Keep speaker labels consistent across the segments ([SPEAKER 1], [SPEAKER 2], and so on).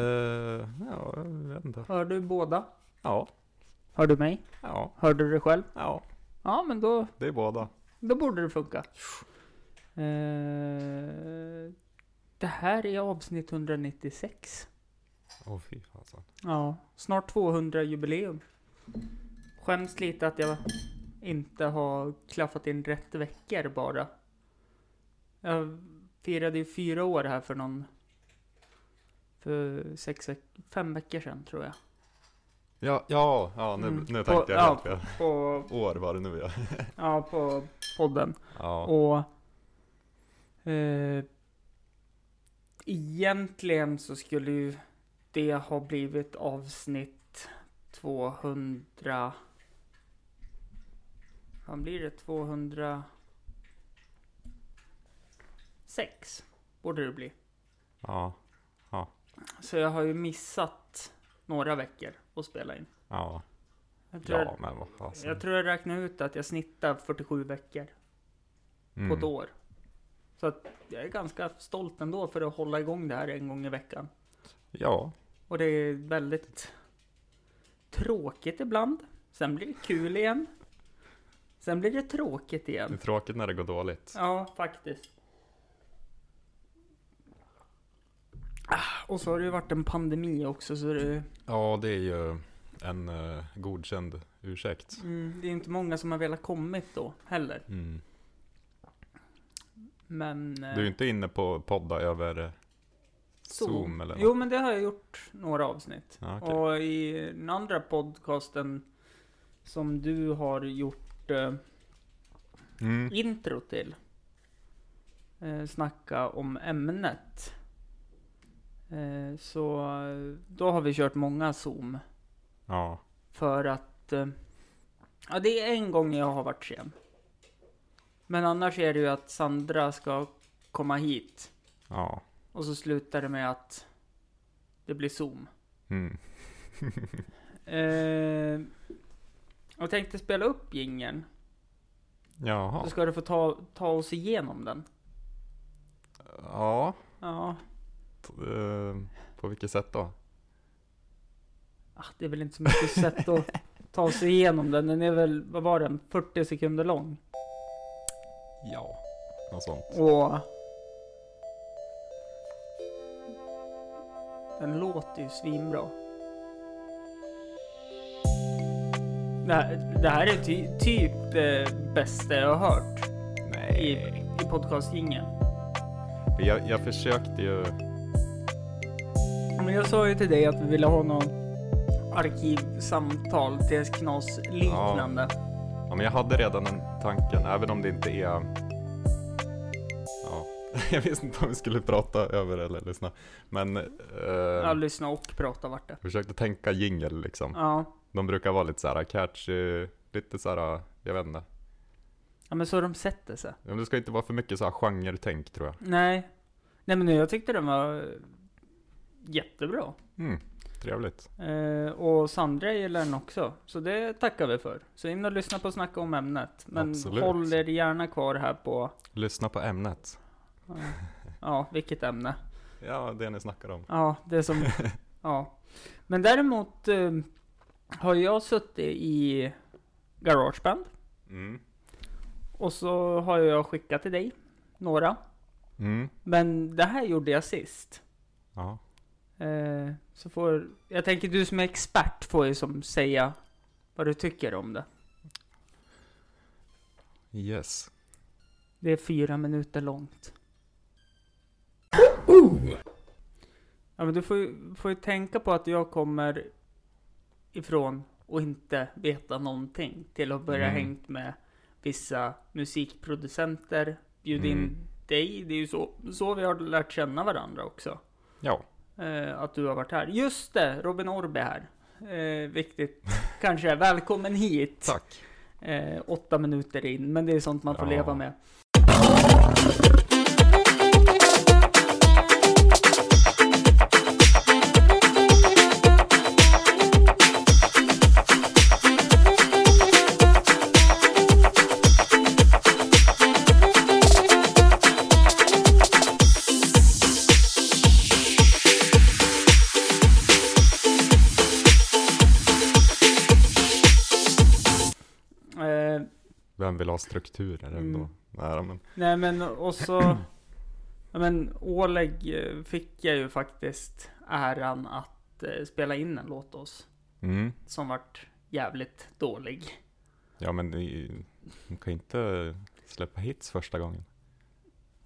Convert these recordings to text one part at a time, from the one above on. [SPEAKER 1] Eh, ja, jag vet inte.
[SPEAKER 2] Hör du båda?
[SPEAKER 1] Ja,
[SPEAKER 2] Hör du mig?
[SPEAKER 1] ja,
[SPEAKER 2] Hör du dig själv?
[SPEAKER 1] ja,
[SPEAKER 2] Ja, men då,
[SPEAKER 1] det är båda.
[SPEAKER 2] då borde det funka. Eh, det här är avsnitt 196.
[SPEAKER 1] Åh fy fasen.
[SPEAKER 2] Ja, snart 200 jubileum. Skäms lite att jag inte har klaffat in rätt veckor bara. Jag firade ju fyra år här för någon... För sex, veck- fem veckor sedan tror jag.
[SPEAKER 1] Ja, ja, ja nu,
[SPEAKER 2] Mm.
[SPEAKER 1] nu
[SPEAKER 2] På-
[SPEAKER 1] tänkte jag helt
[SPEAKER 2] ja.
[SPEAKER 1] fel.
[SPEAKER 2] På,
[SPEAKER 1] År var det nu ja.
[SPEAKER 2] ja, på podden.
[SPEAKER 1] Ja,
[SPEAKER 2] Och eh, egentligen så skulle ju det ha blivit avsnitt 200. Vad blir det? 206 borde det bli.
[SPEAKER 1] ja,
[SPEAKER 2] Så jag har ju missat några veckor att spela in.
[SPEAKER 1] ja,
[SPEAKER 2] Jag tror,
[SPEAKER 1] ja, men vad fasen.
[SPEAKER 2] jag, tror jag räknade ut att jag snittar 47 veckor.
[SPEAKER 1] Mm.
[SPEAKER 2] på ett år. Så att jag är ganska stolt ändå för att hålla igång det här en gång i veckan.
[SPEAKER 1] Ja,
[SPEAKER 2] Och det är väldigt tråkigt ibland. Sen blir det kul igen. Sen blir det tråkigt
[SPEAKER 1] det är
[SPEAKER 2] igen.
[SPEAKER 1] tråkigt när det går dåligt.
[SPEAKER 2] Ja, faktiskt. Ah, Och så har det ju varit en pandemi också så det,
[SPEAKER 1] Ja, det är ju en eh, godkänd ursäkt.
[SPEAKER 2] mm, det är inte många som har velat kommit då heller.
[SPEAKER 1] Mm.
[SPEAKER 2] Men... eh,
[SPEAKER 1] Du är ju inte inne på podda över eh, Zoom, eller?
[SPEAKER 2] Jo men det har jag gjort några avsnitt.
[SPEAKER 1] Ja, okej.
[SPEAKER 2] Och i den andra podcasten som du har gjort eh,
[SPEAKER 1] Mm.
[SPEAKER 2] intro till. Eh, snacka om ämnet. Eh, så eh, då har vi kört många Zoom.
[SPEAKER 1] Ja,
[SPEAKER 2] För att... Eh, ja, det är en gång jag har varit sen. Men annars är det ju att Sandra ska komma hit.
[SPEAKER 1] ja.
[SPEAKER 2] Och så slutar det med att det blir Zoom.
[SPEAKER 1] Mm.
[SPEAKER 2] Eh, jag tänkte spela upp jingeln.
[SPEAKER 1] Jaha.
[SPEAKER 2] Så ska du få ta, ta oss igenom den.
[SPEAKER 1] Ja,
[SPEAKER 2] Ja,
[SPEAKER 1] t- eh, på vilket sätt då?
[SPEAKER 2] ah, det är väl inte så mycket sätt att ta sig igenom den. Den är väl, vad var den? 40 sekunder lång.
[SPEAKER 1] Ja, något sånt.
[SPEAKER 2] Och... Den låter ju svinbra. Det här, det här är ty, typ det bästa jag har hört i,
[SPEAKER 1] Nej.
[SPEAKER 2] i podcastjingeln.
[SPEAKER 1] Jag, jag försökte ju...
[SPEAKER 2] Ja, Men jag sa ju till dig att vi ville ha någon arkivsamtal, TS Knas liknande.
[SPEAKER 1] Ja, men jag hade redan den tanken, även om det inte är... Ja, jag visste inte om vi skulle prata över eller lyssna. Men...
[SPEAKER 2] Ja,
[SPEAKER 1] Eh,
[SPEAKER 2] lyssna och prata vart det.
[SPEAKER 1] försökte tänka jingle liksom.
[SPEAKER 2] Ja.
[SPEAKER 1] De brukar vara lite så här catchy, lite så här, jag vet inte.
[SPEAKER 2] ja, men så de sätter sig.
[SPEAKER 1] Men det ska inte vara för mycket så här genre-tänk tror jag.
[SPEAKER 2] Nej. Nej men jag tyckte den var jättebra.
[SPEAKER 1] Mm, trevligt.
[SPEAKER 2] Eh, och Sandra gillar den också. Så det tackar vi för. Så in och lyssna på Snacka om ämnet. Men
[SPEAKER 1] Absolut.
[SPEAKER 2] håll er gärna kvar här på,
[SPEAKER 1] Lyssna på ämnet.
[SPEAKER 2] ja, ja vilket ämne.
[SPEAKER 1] Ja, det ni snackar om.
[SPEAKER 2] Ja, det som... ja. Men däremot eh, har jag suttit i Garageband
[SPEAKER 1] Mm.
[SPEAKER 2] och så har jag skickat till dig några.
[SPEAKER 1] Mm.
[SPEAKER 2] Men det här gjorde jag sist.
[SPEAKER 1] Ja.
[SPEAKER 2] Eh, så får... Jag tänker du som är expert får ju som säga vad du tycker om det.
[SPEAKER 1] Yes.
[SPEAKER 2] Det är fyra minuter långt.
[SPEAKER 1] Oh!
[SPEAKER 2] Ja, men du får ju, får ju tänka på att jag kommer ifrån och inte veta någonting till att börja
[SPEAKER 1] Mm.
[SPEAKER 2] hängt med vissa musikproducenter. Bjud in
[SPEAKER 1] Mm.
[SPEAKER 2] dig. Det är ju så, så vi har lärt känna varandra också.
[SPEAKER 1] Ja.
[SPEAKER 2] Eh, att du har varit här. Just det, Robin Orbe här. Eh, viktigt kanske. Välkommen hit.
[SPEAKER 1] Tack.
[SPEAKER 2] Eh, åtta minuter in, men det är sånt man får
[SPEAKER 1] Ja.
[SPEAKER 2] leva med. Eh,
[SPEAKER 1] Vem vill ha strukturer ändå?
[SPEAKER 2] Mm.
[SPEAKER 1] Nej, men,
[SPEAKER 2] Nej men och så... Ja, men Oleg eh, fick jag ju faktiskt äran att eh, spela in en låt oss.
[SPEAKER 1] mm.
[SPEAKER 2] Som vart jävligt dålig.
[SPEAKER 1] Ja men ni, ni kan ju inte släppa hits första gången.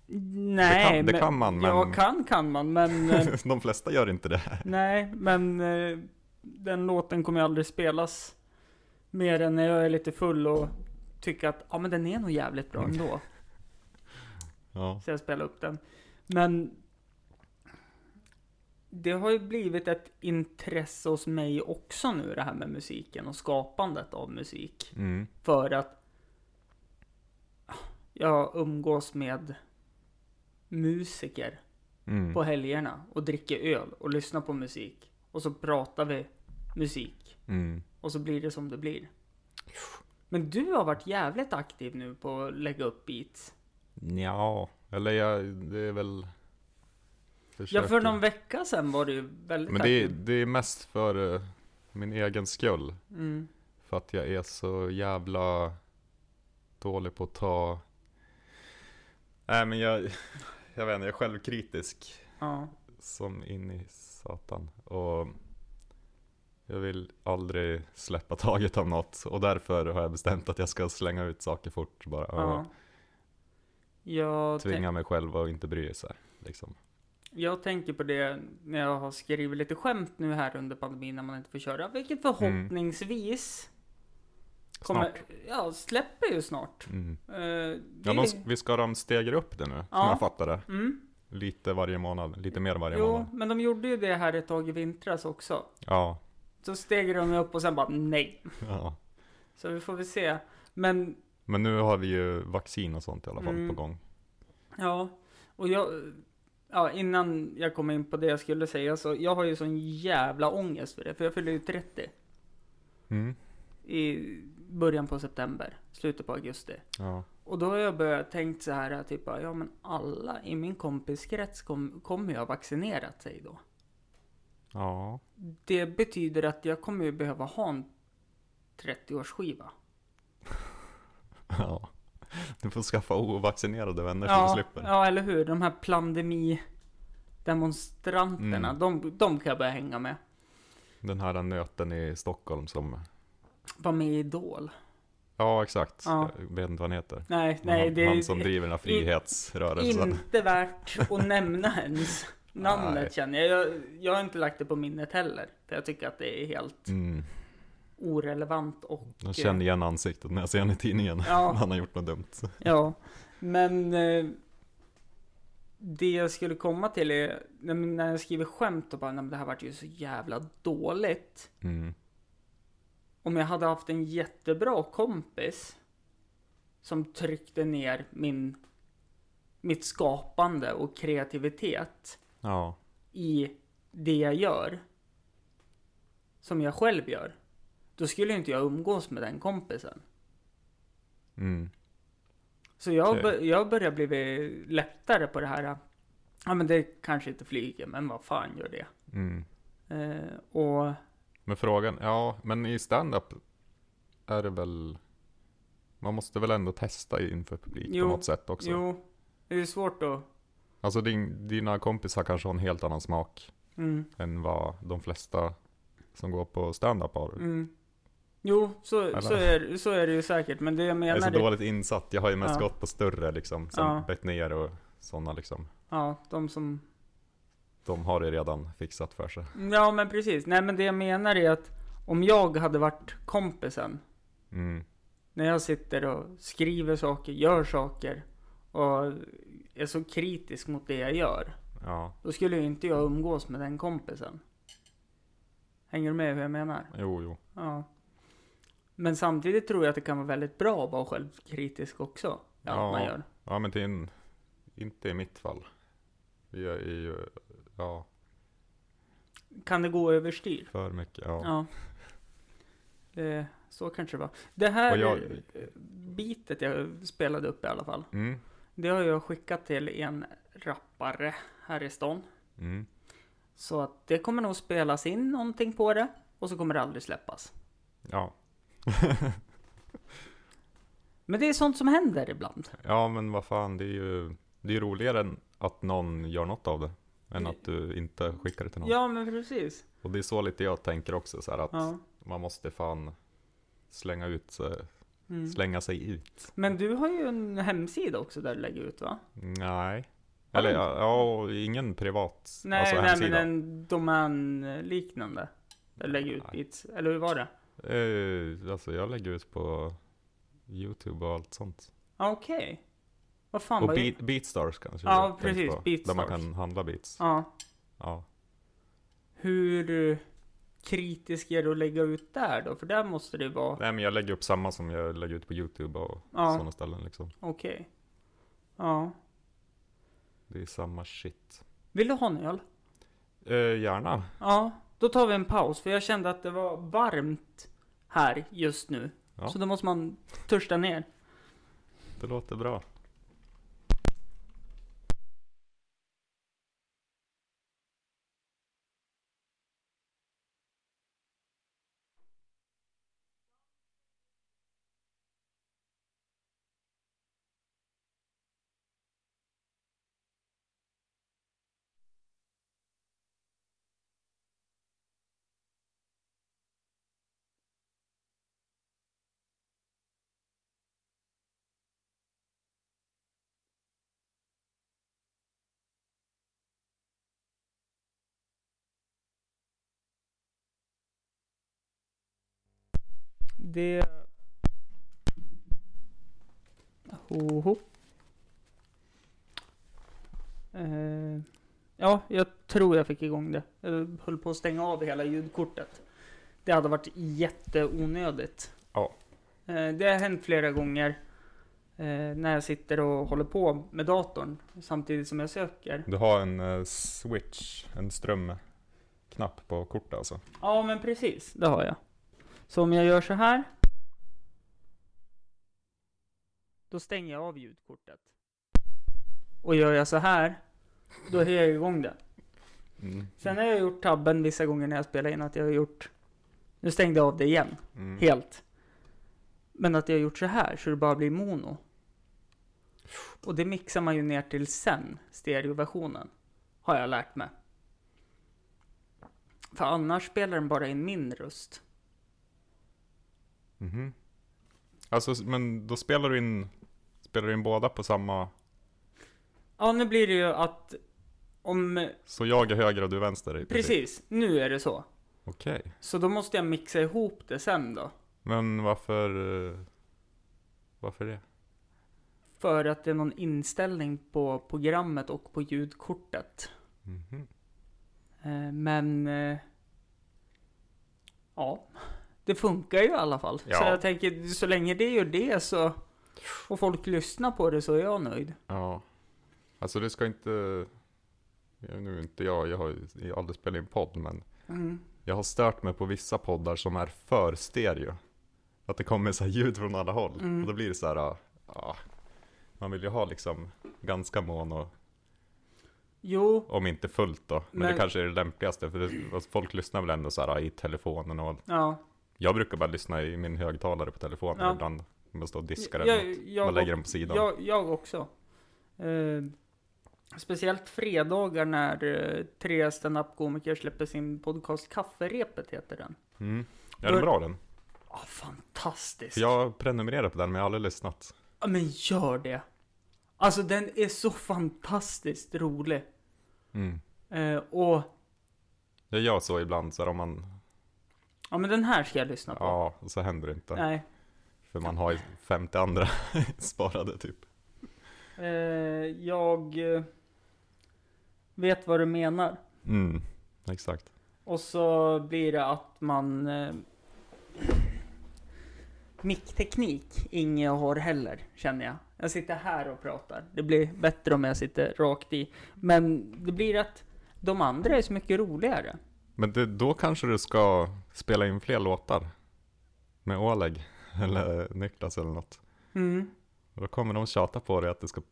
[SPEAKER 2] Nej,
[SPEAKER 1] det kan, det kan man men
[SPEAKER 2] Ja, kan kan man, men... eh,
[SPEAKER 1] de flesta gör inte det.
[SPEAKER 2] Nej, men eh, den låten kommer ju aldrig spelas mer än när jag är lite full och tycker att ja, men den är nog jävligt bra ändå.
[SPEAKER 1] Ja.
[SPEAKER 2] Så jag spelar upp den. Men det har ju blivit ett intresse hos mig också nu det här med musiken och skapandet av musik.
[SPEAKER 1] Mm.
[SPEAKER 2] För att jag umgås med musiker
[SPEAKER 1] Mm.
[SPEAKER 2] på helgerna och dricker öl och lyssnar på musik. Och så pratar vi musik.
[SPEAKER 1] Mm.
[SPEAKER 2] Och så blir det som det blir. Men du har varit jävligt aktiv nu på att lägga upp beats.
[SPEAKER 1] Ja, eller jag, det är väl...
[SPEAKER 2] Ja, för
[SPEAKER 1] försöker.
[SPEAKER 2] någon vecka sedan var du ju väldigt
[SPEAKER 1] Men det, är-
[SPEAKER 2] aktiv.
[SPEAKER 1] det är mest för eh, min egen skull.
[SPEAKER 2] Mm.
[SPEAKER 1] För att jag är så jävla dålig på att ta... Nej men jag, jag vet inte, jag är självkritisk.
[SPEAKER 2] Ja.
[SPEAKER 1] Som in i satan. Och jag vill aldrig släppa taget om något. Och därför har jag bestämt att jag ska slänga ut saker fort bara.
[SPEAKER 2] ja.
[SPEAKER 1] Och
[SPEAKER 2] Jag, tänk-
[SPEAKER 1] tvinga mig själv att inte bry sig. Liksom.
[SPEAKER 2] jag tänker på det när jag har skrivit lite skämt nu här under pandemin när man inte får köra. Vilket förhoppningsvis kommer, ja, släpper ju snart.
[SPEAKER 1] Mm.
[SPEAKER 2] Eh, det
[SPEAKER 1] Ja,
[SPEAKER 2] är
[SPEAKER 1] de,
[SPEAKER 2] li-
[SPEAKER 1] vi ska de stegra upp det nu, som
[SPEAKER 2] Ja.
[SPEAKER 1] jag fattar det.
[SPEAKER 2] mm.
[SPEAKER 1] Lite varje månad, lite mer varje
[SPEAKER 2] Jo,
[SPEAKER 1] månad.
[SPEAKER 2] men de gjorde ju det här ett tag i vintras också.
[SPEAKER 1] Ja,
[SPEAKER 2] Så steg de upp och sen bara nej.
[SPEAKER 1] ja.
[SPEAKER 2] Så vi får väl se. Men
[SPEAKER 1] Men nu har vi ju vaccin och sånt i alla fall
[SPEAKER 2] Mm.
[SPEAKER 1] på gång.
[SPEAKER 2] ja, och jag... Ja, innan jag kom in på det jag skulle säga så jag har ju sån jävla ångest för det. För jag fyller ju 30
[SPEAKER 1] Mm.
[SPEAKER 2] i början på september, slutet på augusti.
[SPEAKER 1] Ja.
[SPEAKER 2] Och då har jag börjat tänkt så här, typ bara, ja men alla i min kompiskrets kom, kommer ju ha vaccinerat sig då.
[SPEAKER 1] ja,
[SPEAKER 2] Det betyder att jag kommer ju behöva ha en 30-årsskiva.
[SPEAKER 1] ja. Du får skaffa ovaccinerade vänner så du slipper.
[SPEAKER 2] ja, eller hur. De här pandemidemonstranterna,
[SPEAKER 1] Mm.
[SPEAKER 2] de, de kan jag börja hänga med.
[SPEAKER 1] Den här nöten i Stockholm som
[SPEAKER 2] Var med i Idol.
[SPEAKER 1] Ja, exakt.
[SPEAKER 2] Ja.
[SPEAKER 1] Jag vet inte vad han heter.
[SPEAKER 2] Nej, nej,
[SPEAKER 1] han,
[SPEAKER 2] det
[SPEAKER 1] han som
[SPEAKER 2] är
[SPEAKER 1] driver den här frihetsrörelsen.
[SPEAKER 2] inte värt att nämna ens namnet
[SPEAKER 1] Nej.
[SPEAKER 2] känner jag. jag. Jag har inte lagt det på minnet heller. För jag tycker att det är helt
[SPEAKER 1] Mm.
[SPEAKER 2] orelevant och...
[SPEAKER 1] Jag känner igen ansiktet när jag ser honom i tidningen.
[SPEAKER 2] Ja,
[SPEAKER 1] Han har gjort något dumt.
[SPEAKER 2] ja. Men... Eh, det jag skulle komma till är, när- när jag skriver skämt och bara, nej men det här vart ju så jävla dåligt.
[SPEAKER 1] Mm.
[SPEAKER 2] om jag hade haft en jättebra kompis som tryckte ner min, mitt skapande och kreativitet
[SPEAKER 1] Ja.
[SPEAKER 2] i det jag gör, som jag själv gör, då skulle inte jag umgås med den kompisen.
[SPEAKER 1] Mm.
[SPEAKER 2] Så jag,
[SPEAKER 1] Okej.
[SPEAKER 2] bör- jag börjar bli lättare på det här. Ja, men det kanske inte flyger, men vad fan gör det?
[SPEAKER 1] Mm.
[SPEAKER 2] Eh, och
[SPEAKER 1] Men frågan, ja, men i stand-up är det väl... Man måste väl ändå testa inför publik
[SPEAKER 2] Jo.
[SPEAKER 1] på något sätt också?
[SPEAKER 2] jo, det är svårt att...
[SPEAKER 1] Alltså din, dina kompisar kanske har en helt annan smak
[SPEAKER 2] Mm.
[SPEAKER 1] än vad de flesta som går på stand-up har.
[SPEAKER 2] Mm. Jo, så,
[SPEAKER 1] typ. Eller?
[SPEAKER 2] så, är, så är det ju säkert. Men det jag
[SPEAKER 1] jag är
[SPEAKER 2] menar...
[SPEAKER 1] så
[SPEAKER 2] är-
[SPEAKER 1] dåligt insatt, jag har ju mest
[SPEAKER 2] Ja.
[SPEAKER 1] gått på större liksom, som
[SPEAKER 2] Ja.
[SPEAKER 1] Betnér och sådana liksom.
[SPEAKER 2] Ja, de som...
[SPEAKER 1] De har det redan fixat för sig.
[SPEAKER 2] Ja, men precis. Nej, men det jag menar är att om jag hade varit kompisen,
[SPEAKER 1] Mm.
[SPEAKER 2] när jag sitter och skriver saker, gör saker och är så kritisk mot det jag gör,
[SPEAKER 1] Ja,
[SPEAKER 2] då skulle ju inte jag umgås med den kompisen. Hänger du med hur jag menar?
[SPEAKER 1] jo, jo.
[SPEAKER 2] Ja. Men samtidigt tror jag att det kan vara väldigt bra att vara självkritisk också. Ja,
[SPEAKER 1] Ja.
[SPEAKER 2] allt man gör.
[SPEAKER 1] Ja, men det är en, inte i mitt fall. Jag är ju, ja,
[SPEAKER 2] Kan det gå överstyr?
[SPEAKER 1] för mycket. Ja.
[SPEAKER 2] Ja. Det, Eh, så kanske det var. Det här
[SPEAKER 1] Och jag-
[SPEAKER 2] eh, bitet jag spelade upp i alla fall.
[SPEAKER 1] Mm,
[SPEAKER 2] Det har jag skickat till en rappare här i stan.
[SPEAKER 1] mm.
[SPEAKER 2] Så att det kommer nog spelas in någonting på det. Och så kommer det aldrig släppas.
[SPEAKER 1] Ja,
[SPEAKER 2] Men det är sånt som händer ibland.
[SPEAKER 1] Ja men vad fan, det är ju det är ju roligare än att någon gör något av det. Än att du inte skickar det till någon.
[SPEAKER 2] Ja, men precis.
[SPEAKER 1] Och det är så lite jag tänker också, så här att
[SPEAKER 2] Ja.
[SPEAKER 1] man måste fan slänga ut sig,
[SPEAKER 2] Mm.
[SPEAKER 1] slänga sig ut.
[SPEAKER 2] Men du har ju en hemsida också där du lägger ut va?
[SPEAKER 1] Alltså, Nej.
[SPEAKER 2] Har
[SPEAKER 1] Eller
[SPEAKER 2] du
[SPEAKER 1] ja, ja, och ingen privat
[SPEAKER 2] Nej,
[SPEAKER 1] alltså,
[SPEAKER 2] nej men
[SPEAKER 1] hemsida.
[SPEAKER 2] en domänliknande. Där du lägger ut
[SPEAKER 1] Nej.
[SPEAKER 2] bits. Eller hur var det?
[SPEAKER 1] Eh, alltså jag lägger ut på Youtube och allt sånt.
[SPEAKER 2] Ja, Okej. Vad fan
[SPEAKER 1] och
[SPEAKER 2] var
[SPEAKER 1] Beat,
[SPEAKER 2] det?
[SPEAKER 1] Beatstars kanske
[SPEAKER 2] Ja,
[SPEAKER 1] jag tänkte
[SPEAKER 2] precis,
[SPEAKER 1] på,
[SPEAKER 2] Beatstars.
[SPEAKER 1] Där man kan handla beats. Ja.
[SPEAKER 2] Ja. Hur eh, kritisk är du att lägga ut där då? För där måste det vara...
[SPEAKER 1] Nej men jag lägger upp samma som jag lägger ut på Youtube och
[SPEAKER 2] Ja.
[SPEAKER 1] sådana ställen liksom.
[SPEAKER 2] Okej. Ja.
[SPEAKER 1] Det är samma shit.
[SPEAKER 2] Vill du ha en öl?
[SPEAKER 1] Eh, gärna.
[SPEAKER 2] Ja. Då tar vi en paus. För jag kände att det var varmt här just nu.
[SPEAKER 1] Ja.
[SPEAKER 2] Så då måste man törsta ner.
[SPEAKER 1] Det låter bra.
[SPEAKER 2] Det... Hoho. Eh, ja, jag tror jag fick igång det. Jag höll på att stänga av hela ljudkortet. Det hade varit jätteonödigt.
[SPEAKER 1] Ja.
[SPEAKER 2] Eh, det har hänt flera gånger eh, när jag sitter och håller på med datorn samtidigt som jag söker.
[SPEAKER 1] Du har en eh, switch, en strömknapp på kortet alltså.
[SPEAKER 2] Ja, men precis. Det har jag. Så om jag gör så här. Då stänger jag av ljudkortet. Och gör jag så här. Då är jag igång det.
[SPEAKER 1] Mm.
[SPEAKER 2] Sen har jag gjort tabben vissa gånger när jag spelar in att jag har gjort. Nu stängde jag av det igen.
[SPEAKER 1] Mm.
[SPEAKER 2] Helt. Men att jag har gjort så här så det bara blir mono. Och det mixar man ju ner till sen, stereoversionen. Har jag lärt mig. För annars spelar den bara in min röst.
[SPEAKER 1] Mhm. Alltså, s- men då spelar du in, spelar du in båda på samma...
[SPEAKER 2] Ja, nu blir det ju att om...
[SPEAKER 1] Så jag är höger och du är vänster? i princip.
[SPEAKER 2] Precis, nu är det så.
[SPEAKER 1] Okej.
[SPEAKER 2] Så då måste jag mixa ihop det sen då.
[SPEAKER 1] Men varför... eh, Varför det?
[SPEAKER 2] För att det är någon inställning på programmet och på ljudkortet.
[SPEAKER 1] Mhm.
[SPEAKER 2] Eh, Men... eh, Ja. Det funkar ju i alla fall. Så
[SPEAKER 1] Ja.
[SPEAKER 2] jag tänker, så länge det gör det så... Och folk lyssnar på det så är jag nöjd.
[SPEAKER 1] Ja. Alltså det ska inte... ja, Nu är inte jag, jag har ju aldrig spelat in podd, men
[SPEAKER 2] Mm.
[SPEAKER 1] jag har stört mig på vissa poddar som är för stereo. Att det kommer så här ljud från alla håll.
[SPEAKER 2] Mm.
[SPEAKER 1] Och då blir det så här, ah, ah, man vill ju ha liksom ganska mono,
[SPEAKER 2] Jo,
[SPEAKER 1] om inte fullt då. Men,
[SPEAKER 2] Men-
[SPEAKER 1] det kanske är det lämpligaste, för det, alltså, folk lyssnar väl ändå så här ah, i telefonen och
[SPEAKER 2] ja.
[SPEAKER 1] Jag brukar bara lyssna i min högtalare på telefonen
[SPEAKER 2] Ja.
[SPEAKER 1] ibland. Om jag står och diskar eller något. Bara lägger den på sidan.
[SPEAKER 2] Jag, jag också. Eh, speciellt fredagar när eh, tre standup-komiker släpper sin podcast Kafferepet heter den.
[SPEAKER 1] Mm. Ja, den är
[SPEAKER 2] Bör-
[SPEAKER 1] bra den.
[SPEAKER 2] Ah, fantastisk!
[SPEAKER 1] För jag prenumererar på den men jag har aldrig lyssnat.
[SPEAKER 2] Ja men gör det! Alltså den är så fantastiskt rolig.
[SPEAKER 1] Mm.
[SPEAKER 2] Eh, och
[SPEAKER 1] Jag gör så ibland så här, om man,
[SPEAKER 2] Ja men den här ska jag lyssna på.
[SPEAKER 1] ja, och så händer det inte.
[SPEAKER 2] Nej.
[SPEAKER 1] För man har ju 50 andra sparade typ.
[SPEAKER 2] Eh, jag eh, vet vad du menar.
[SPEAKER 1] Mm. Exakt.
[SPEAKER 2] Och så blir det att man... Eh, mickteknik, inget jag har heller, känner jag. Jag sitter här och pratar. Det blir bättre om jag sitter rakt i. Men det blir att de andra är så mycket roligare.
[SPEAKER 1] Men det, då kanske du ska spela in fler låtar. Med Oleg eller Niklas eller något.
[SPEAKER 2] Mm.
[SPEAKER 1] Och då kommer de tjata på dig att du ska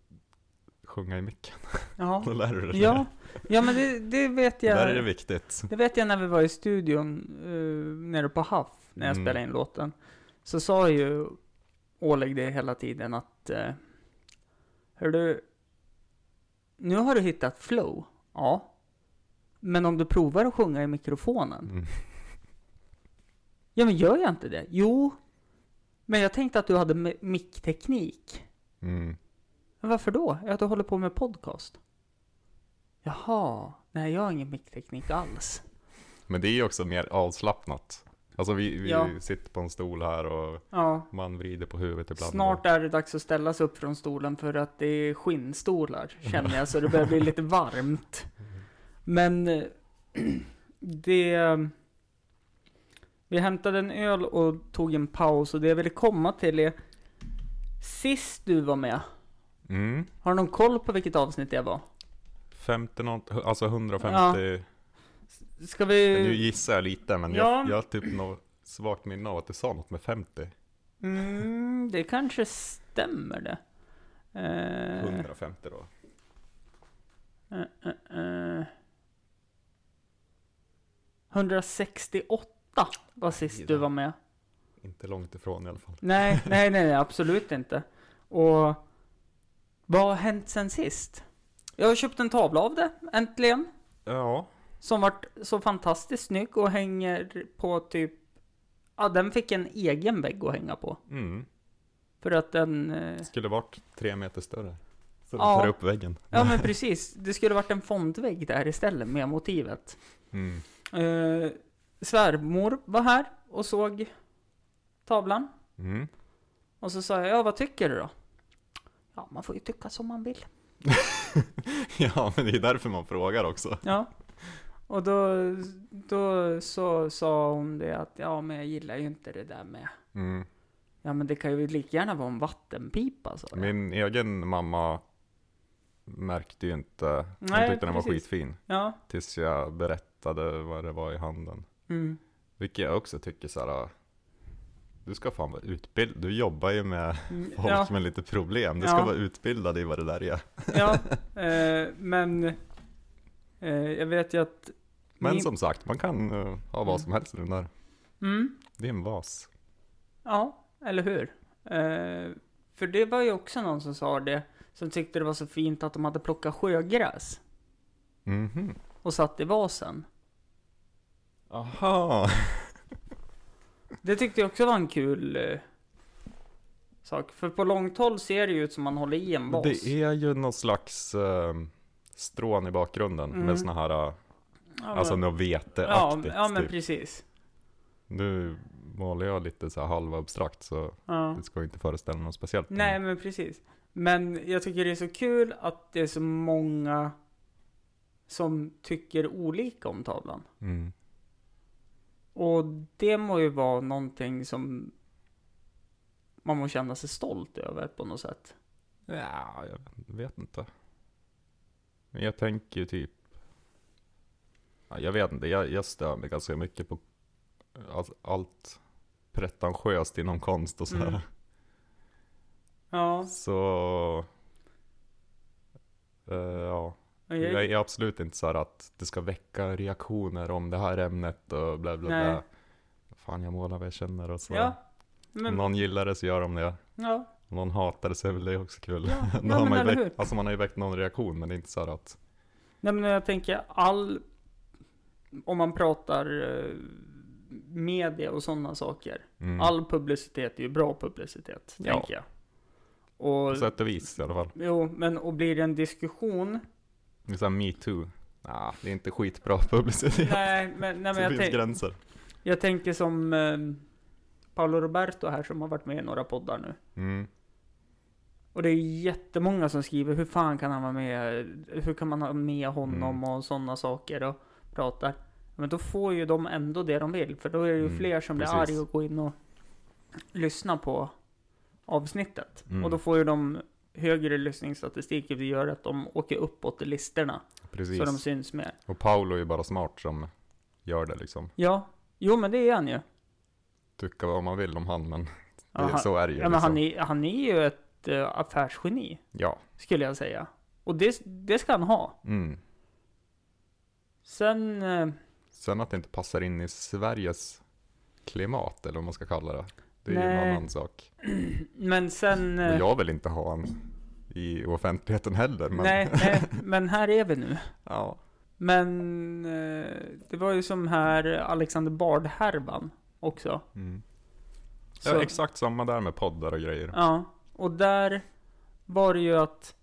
[SPEAKER 1] sjunga i micken.
[SPEAKER 2] Ja.
[SPEAKER 1] Då lär du dig det.
[SPEAKER 2] ja. Ja men det, det vet jag.
[SPEAKER 1] Där är det viktigt.
[SPEAKER 2] Det vet jag när vi var i studion eh, nere på Haff, när jag
[SPEAKER 1] Mm.
[SPEAKER 2] spelade in låten. Så sa ju ålägg dig hela tiden att... Eh, hör du... Nu har du hittat flow. Ja. Men om du provar att sjunga i mikrofonen.
[SPEAKER 1] Mm.
[SPEAKER 2] Ja, men gör jag inte det? Jo. Men jag tänkte att du hade mi- mickteknik.
[SPEAKER 1] Mm.
[SPEAKER 2] Men varför då? Ja, du håller på med podcast. Jaha. Nej, jag har ingen mickteknik alls.
[SPEAKER 1] Men det är ju också mer avslappnat. Alltså vi, vi
[SPEAKER 2] Ja.
[SPEAKER 1] sitter på en stol här och
[SPEAKER 2] Ja.
[SPEAKER 1] man vrider på huvudet ibland.
[SPEAKER 2] Snart är det dags att ställa sig upp från stolen för att det är skinnstolar känner jag så det börjar bli lite varmt. Men eh, det... Vi hämtade en öl och tog en paus och det jag ville komma till är Sist du var med,
[SPEAKER 1] Mm.
[SPEAKER 2] har du någon koll på vilket avsnitt det var?
[SPEAKER 1] 50 något, alltså 150.
[SPEAKER 2] Ska
[SPEAKER 1] Nu
[SPEAKER 2] vi...
[SPEAKER 1] gissar jag lite men
[SPEAKER 2] Mm. Ja.
[SPEAKER 1] jag, jag har typ något svagt minne av att du sa något med 50.
[SPEAKER 2] Mm, det kanske stämmer det. Eh,
[SPEAKER 1] 150 då.
[SPEAKER 2] Eh, eh, eh. 168 var
[SPEAKER 1] Aj
[SPEAKER 2] sist
[SPEAKER 1] då.
[SPEAKER 2] du var med.
[SPEAKER 1] Inte långt ifrån i alla fall.
[SPEAKER 2] Nej, nej, nej, nej, absolut inte. Och vad har hänt sen sist? Jag har köpt en tavla av det, äntligen.
[SPEAKER 1] Ja.
[SPEAKER 2] Som vart så fantastiskt snygg och hänger på typ... Ja, den fick en egen vägg att hänga på.
[SPEAKER 1] Mm.
[SPEAKER 2] För att den... eh,
[SPEAKER 1] Skulle varit tre meter större. Så du
[SPEAKER 2] Ja.
[SPEAKER 1] tar upp väggen.
[SPEAKER 2] Ja, men precis. Det skulle varit en fondvägg där istället med motivet.
[SPEAKER 1] Mm.
[SPEAKER 2] Eh, svärmor var här och såg tavlan.
[SPEAKER 1] Mm.
[SPEAKER 2] Och så sa jag, ja vad tycker du då? Ja, man får ju tycka som man vill.
[SPEAKER 1] Ja, men det är därför man frågar också.
[SPEAKER 2] Ja. Och då, då så sa hon det att, ja men jag gillar ju inte det där med,
[SPEAKER 1] Mm.
[SPEAKER 2] ja men det kan ju lika gärna vara en vattenpipa sa jag.
[SPEAKER 1] Min egen mamma märkte ju inte, hon
[SPEAKER 2] Nej,
[SPEAKER 1] tyckte den var
[SPEAKER 2] precis.
[SPEAKER 1] skitfin.
[SPEAKER 2] Ja.
[SPEAKER 1] Tills jag berättade vad det var i handen.
[SPEAKER 2] Mm.
[SPEAKER 1] Vilket jag också tycker såhär, du ska fan vara utbildad, du jobbar ju med
[SPEAKER 2] Mm,
[SPEAKER 1] folk
[SPEAKER 2] Ja,
[SPEAKER 1] med lite problem, du ska
[SPEAKER 2] Ja.
[SPEAKER 1] vara utbildad i vad det där är.
[SPEAKER 2] ja. Eh, men eh, jag vet ju att...
[SPEAKER 1] Men
[SPEAKER 2] min-
[SPEAKER 1] som sagt, man kan eh, ha
[SPEAKER 2] Mm.
[SPEAKER 1] vad som helst i den där.
[SPEAKER 2] Mm.
[SPEAKER 1] Det är en vas.
[SPEAKER 2] Ja, eller hur? Eh, för det var ju också någon som sa det, som tyckte det var så fint att de hade plockat sjögräs
[SPEAKER 1] Mhm.
[SPEAKER 2] och satt i vasen.
[SPEAKER 1] Aha!
[SPEAKER 2] Det tyckte jag också var en kul eh, sak, för på långt håll ser det ju ut som man håller i en vas.
[SPEAKER 1] Det är ju någon slags eh, strån i bakgrunden
[SPEAKER 2] Mm.
[SPEAKER 1] med såna här, eh,
[SPEAKER 2] ja, men-
[SPEAKER 1] alltså något
[SPEAKER 2] ja,
[SPEAKER 1] veteaktigt
[SPEAKER 2] ja, men
[SPEAKER 1] typ.
[SPEAKER 2] precis.
[SPEAKER 1] Nu målar jag lite så här halvabstrakt så
[SPEAKER 2] Ja.
[SPEAKER 1] det ska inte föreställa något speciellt. Mm.
[SPEAKER 2] Nej, men precis. Men jag tycker det är så kul att det är så många som tycker olika om tavlan.
[SPEAKER 1] Mm.
[SPEAKER 2] Och det må ju vara någonting som man må känna sig stolt över på något sätt.
[SPEAKER 1] Ja, jag vet inte. Men jag tänker ju typ... Ja, jag vet inte, jag, jag stör mig ganska mycket på alltså, allt pretentiöst inom konst och sådär.
[SPEAKER 2] Mm. Ja,
[SPEAKER 1] Så... eh, ja,
[SPEAKER 2] och
[SPEAKER 1] jag
[SPEAKER 2] jag,
[SPEAKER 1] är absolut inte så här att det ska väcka reaktioner om det här ämnet och bla bla
[SPEAKER 2] Nej.
[SPEAKER 1] bla. Fan, jag målar vad jag känner och så.
[SPEAKER 2] ja,
[SPEAKER 1] Om
[SPEAKER 2] men,
[SPEAKER 1] någon gillar det så gör de det.
[SPEAKER 2] ja,
[SPEAKER 1] Om någon hatar det så är väl det också kul.
[SPEAKER 2] Ja, ja,
[SPEAKER 1] Då har
[SPEAKER 2] men
[SPEAKER 1] man, ju
[SPEAKER 2] eller
[SPEAKER 1] väckt,
[SPEAKER 2] hur?
[SPEAKER 1] alltså man har ju väckt någon reaktion men det är inte så här att
[SPEAKER 2] nej men jag tänker all, om man pratar eh, media och sådana saker.
[SPEAKER 1] mm,
[SPEAKER 2] All publicitet är ju bra publicitet,
[SPEAKER 1] Ja.
[SPEAKER 2] tänker jag.
[SPEAKER 1] På
[SPEAKER 2] Och,
[SPEAKER 1] sätt och vis i alla fall.
[SPEAKER 2] jo, men och blir det en diskussion?
[SPEAKER 1] Det är så här metoo. Nah, det är inte skitbra publicitet.
[SPEAKER 2] nej, men,
[SPEAKER 1] så
[SPEAKER 2] nej, men
[SPEAKER 1] det
[SPEAKER 2] jag,
[SPEAKER 1] finns
[SPEAKER 2] tänk,
[SPEAKER 1] gränser.
[SPEAKER 2] jag tänker som eh, Paolo Roberto här som har varit med i några poddar nu.
[SPEAKER 1] Mm,
[SPEAKER 2] Och det är jättemånga som skriver hur fan kan han vara med? Hur kan man ha med honom
[SPEAKER 1] Mm.
[SPEAKER 2] och sådana saker och pratar. Men då får ju de ändå det de vill. För då är det ju
[SPEAKER 1] Mm,
[SPEAKER 2] fler som blir
[SPEAKER 1] precis.
[SPEAKER 2] arga och går in och lyssnar på avsnittet.
[SPEAKER 1] Mm.
[SPEAKER 2] Och då får ju de högre lyssningsstatistik vilket gör att de åker uppåt i listorna.
[SPEAKER 1] precis.
[SPEAKER 2] Så de syns mer.
[SPEAKER 1] Och Paolo är ju bara smart som gör det liksom.
[SPEAKER 2] Ja, jo men det är han ju.
[SPEAKER 1] Tycka vad man vill om han men
[SPEAKER 2] Ja,
[SPEAKER 1] det,
[SPEAKER 2] han,
[SPEAKER 1] så är det ju.
[SPEAKER 2] ja, men han,
[SPEAKER 1] liksom.
[SPEAKER 2] är, han är ju ett eh, affärsgeni
[SPEAKER 1] ja.
[SPEAKER 2] skulle jag säga. Och det, det ska han ha.
[SPEAKER 1] Mm.
[SPEAKER 2] Sen... eh,
[SPEAKER 1] Sen att det inte passar in i Sveriges klimat eller vad man ska kalla det. Det är ju en
[SPEAKER 2] Nej.
[SPEAKER 1] annan sak.
[SPEAKER 2] Men sen...
[SPEAKER 1] Och
[SPEAKER 2] eh,
[SPEAKER 1] jag vill inte ha en i offentligheten heller. Men,
[SPEAKER 2] Nej, nej, men här är vi nu.
[SPEAKER 1] Ja.
[SPEAKER 2] Men eh, det var ju som här Alexander Bard-härvan också.
[SPEAKER 1] Mm.
[SPEAKER 2] Så-
[SPEAKER 1] Ja, exakt samma där med poddar och grejer.
[SPEAKER 2] Ja, och där var det ju att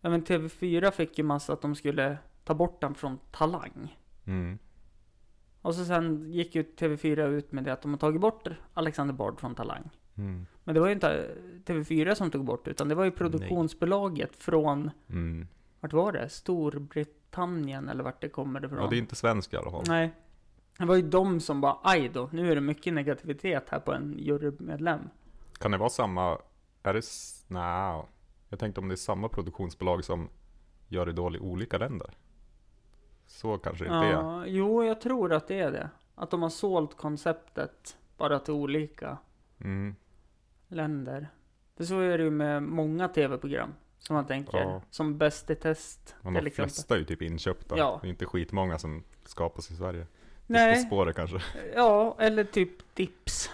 [SPEAKER 2] ja, men TV4 fick ju massa att de skulle ta bort den från Talang.
[SPEAKER 1] Mm.
[SPEAKER 2] Och så sen gick ju TV4 ut med det att de har tagit bort Alexander Bard från Talang.
[SPEAKER 1] Mm.
[SPEAKER 2] Men det var ju inte TV4 som tog bort utan det var ju produktionsbolaget från,
[SPEAKER 1] Mm.
[SPEAKER 2] vart var det? Storbritannien eller vart det kommer ifrån?
[SPEAKER 1] Ja, det är inte svenska i alla fall.
[SPEAKER 2] Nej. Det var ju de som bara, aj då, nu är det mycket negativitet här på en jurymedlem.
[SPEAKER 1] Kan det vara samma? Är det... s- Nej. Jag tänkte om det är samma produktionsbolag som gör Idol i olika länder. Så kanske det inte är.
[SPEAKER 2] Ja, jo, jag tror att det är det. Att de har sålt konceptet bara till olika
[SPEAKER 1] Mm.
[SPEAKER 2] länder. För så är det ju med många tv-program som man tänker,
[SPEAKER 1] Ja.
[SPEAKER 2] som Bäst i test
[SPEAKER 1] Men
[SPEAKER 2] till
[SPEAKER 1] de
[SPEAKER 2] exempel.
[SPEAKER 1] flesta är ju typ inköpta.
[SPEAKER 2] Ja.
[SPEAKER 1] Det är inte skitmånga som skapas i Sverige. På
[SPEAKER 2] Nej,
[SPEAKER 1] spåret kanske.
[SPEAKER 2] ja, eller typ Dips.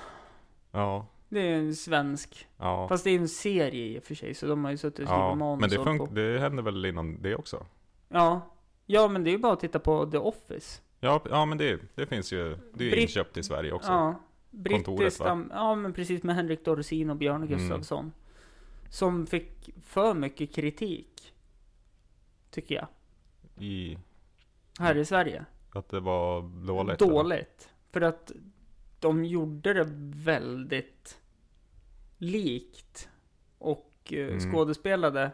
[SPEAKER 1] Ja.
[SPEAKER 2] Det är ju en svensk.
[SPEAKER 1] Ja.
[SPEAKER 2] Fast det är ju en serie i och för sig, så de har ju suttit och skrivit
[SPEAKER 1] ja.
[SPEAKER 2] manus
[SPEAKER 1] Men det,
[SPEAKER 2] och hållit
[SPEAKER 1] fun-
[SPEAKER 2] på.
[SPEAKER 1] det händer väl innan det också?
[SPEAKER 2] Ja. ja, men det är ju bara att titta på The Office.
[SPEAKER 1] Ja, p- ja men det, det finns ju, det är ju
[SPEAKER 2] Britt-
[SPEAKER 1] inköpt i Sverige också.
[SPEAKER 2] Ja,
[SPEAKER 1] Kontoret,
[SPEAKER 2] brittiskt.
[SPEAKER 1] va?
[SPEAKER 2] am- Ja, men precis med Henrik Dorsin och Björn
[SPEAKER 1] Mm.
[SPEAKER 2] Gustafsson. Som fick för mycket kritik. Tycker jag.
[SPEAKER 1] I
[SPEAKER 2] Här i Sverige.
[SPEAKER 1] att det var dåligt. eller?
[SPEAKER 2] Dåligt. För att de gjorde det väldigt likt. Och eh,
[SPEAKER 1] Mm.
[SPEAKER 2] skådespelade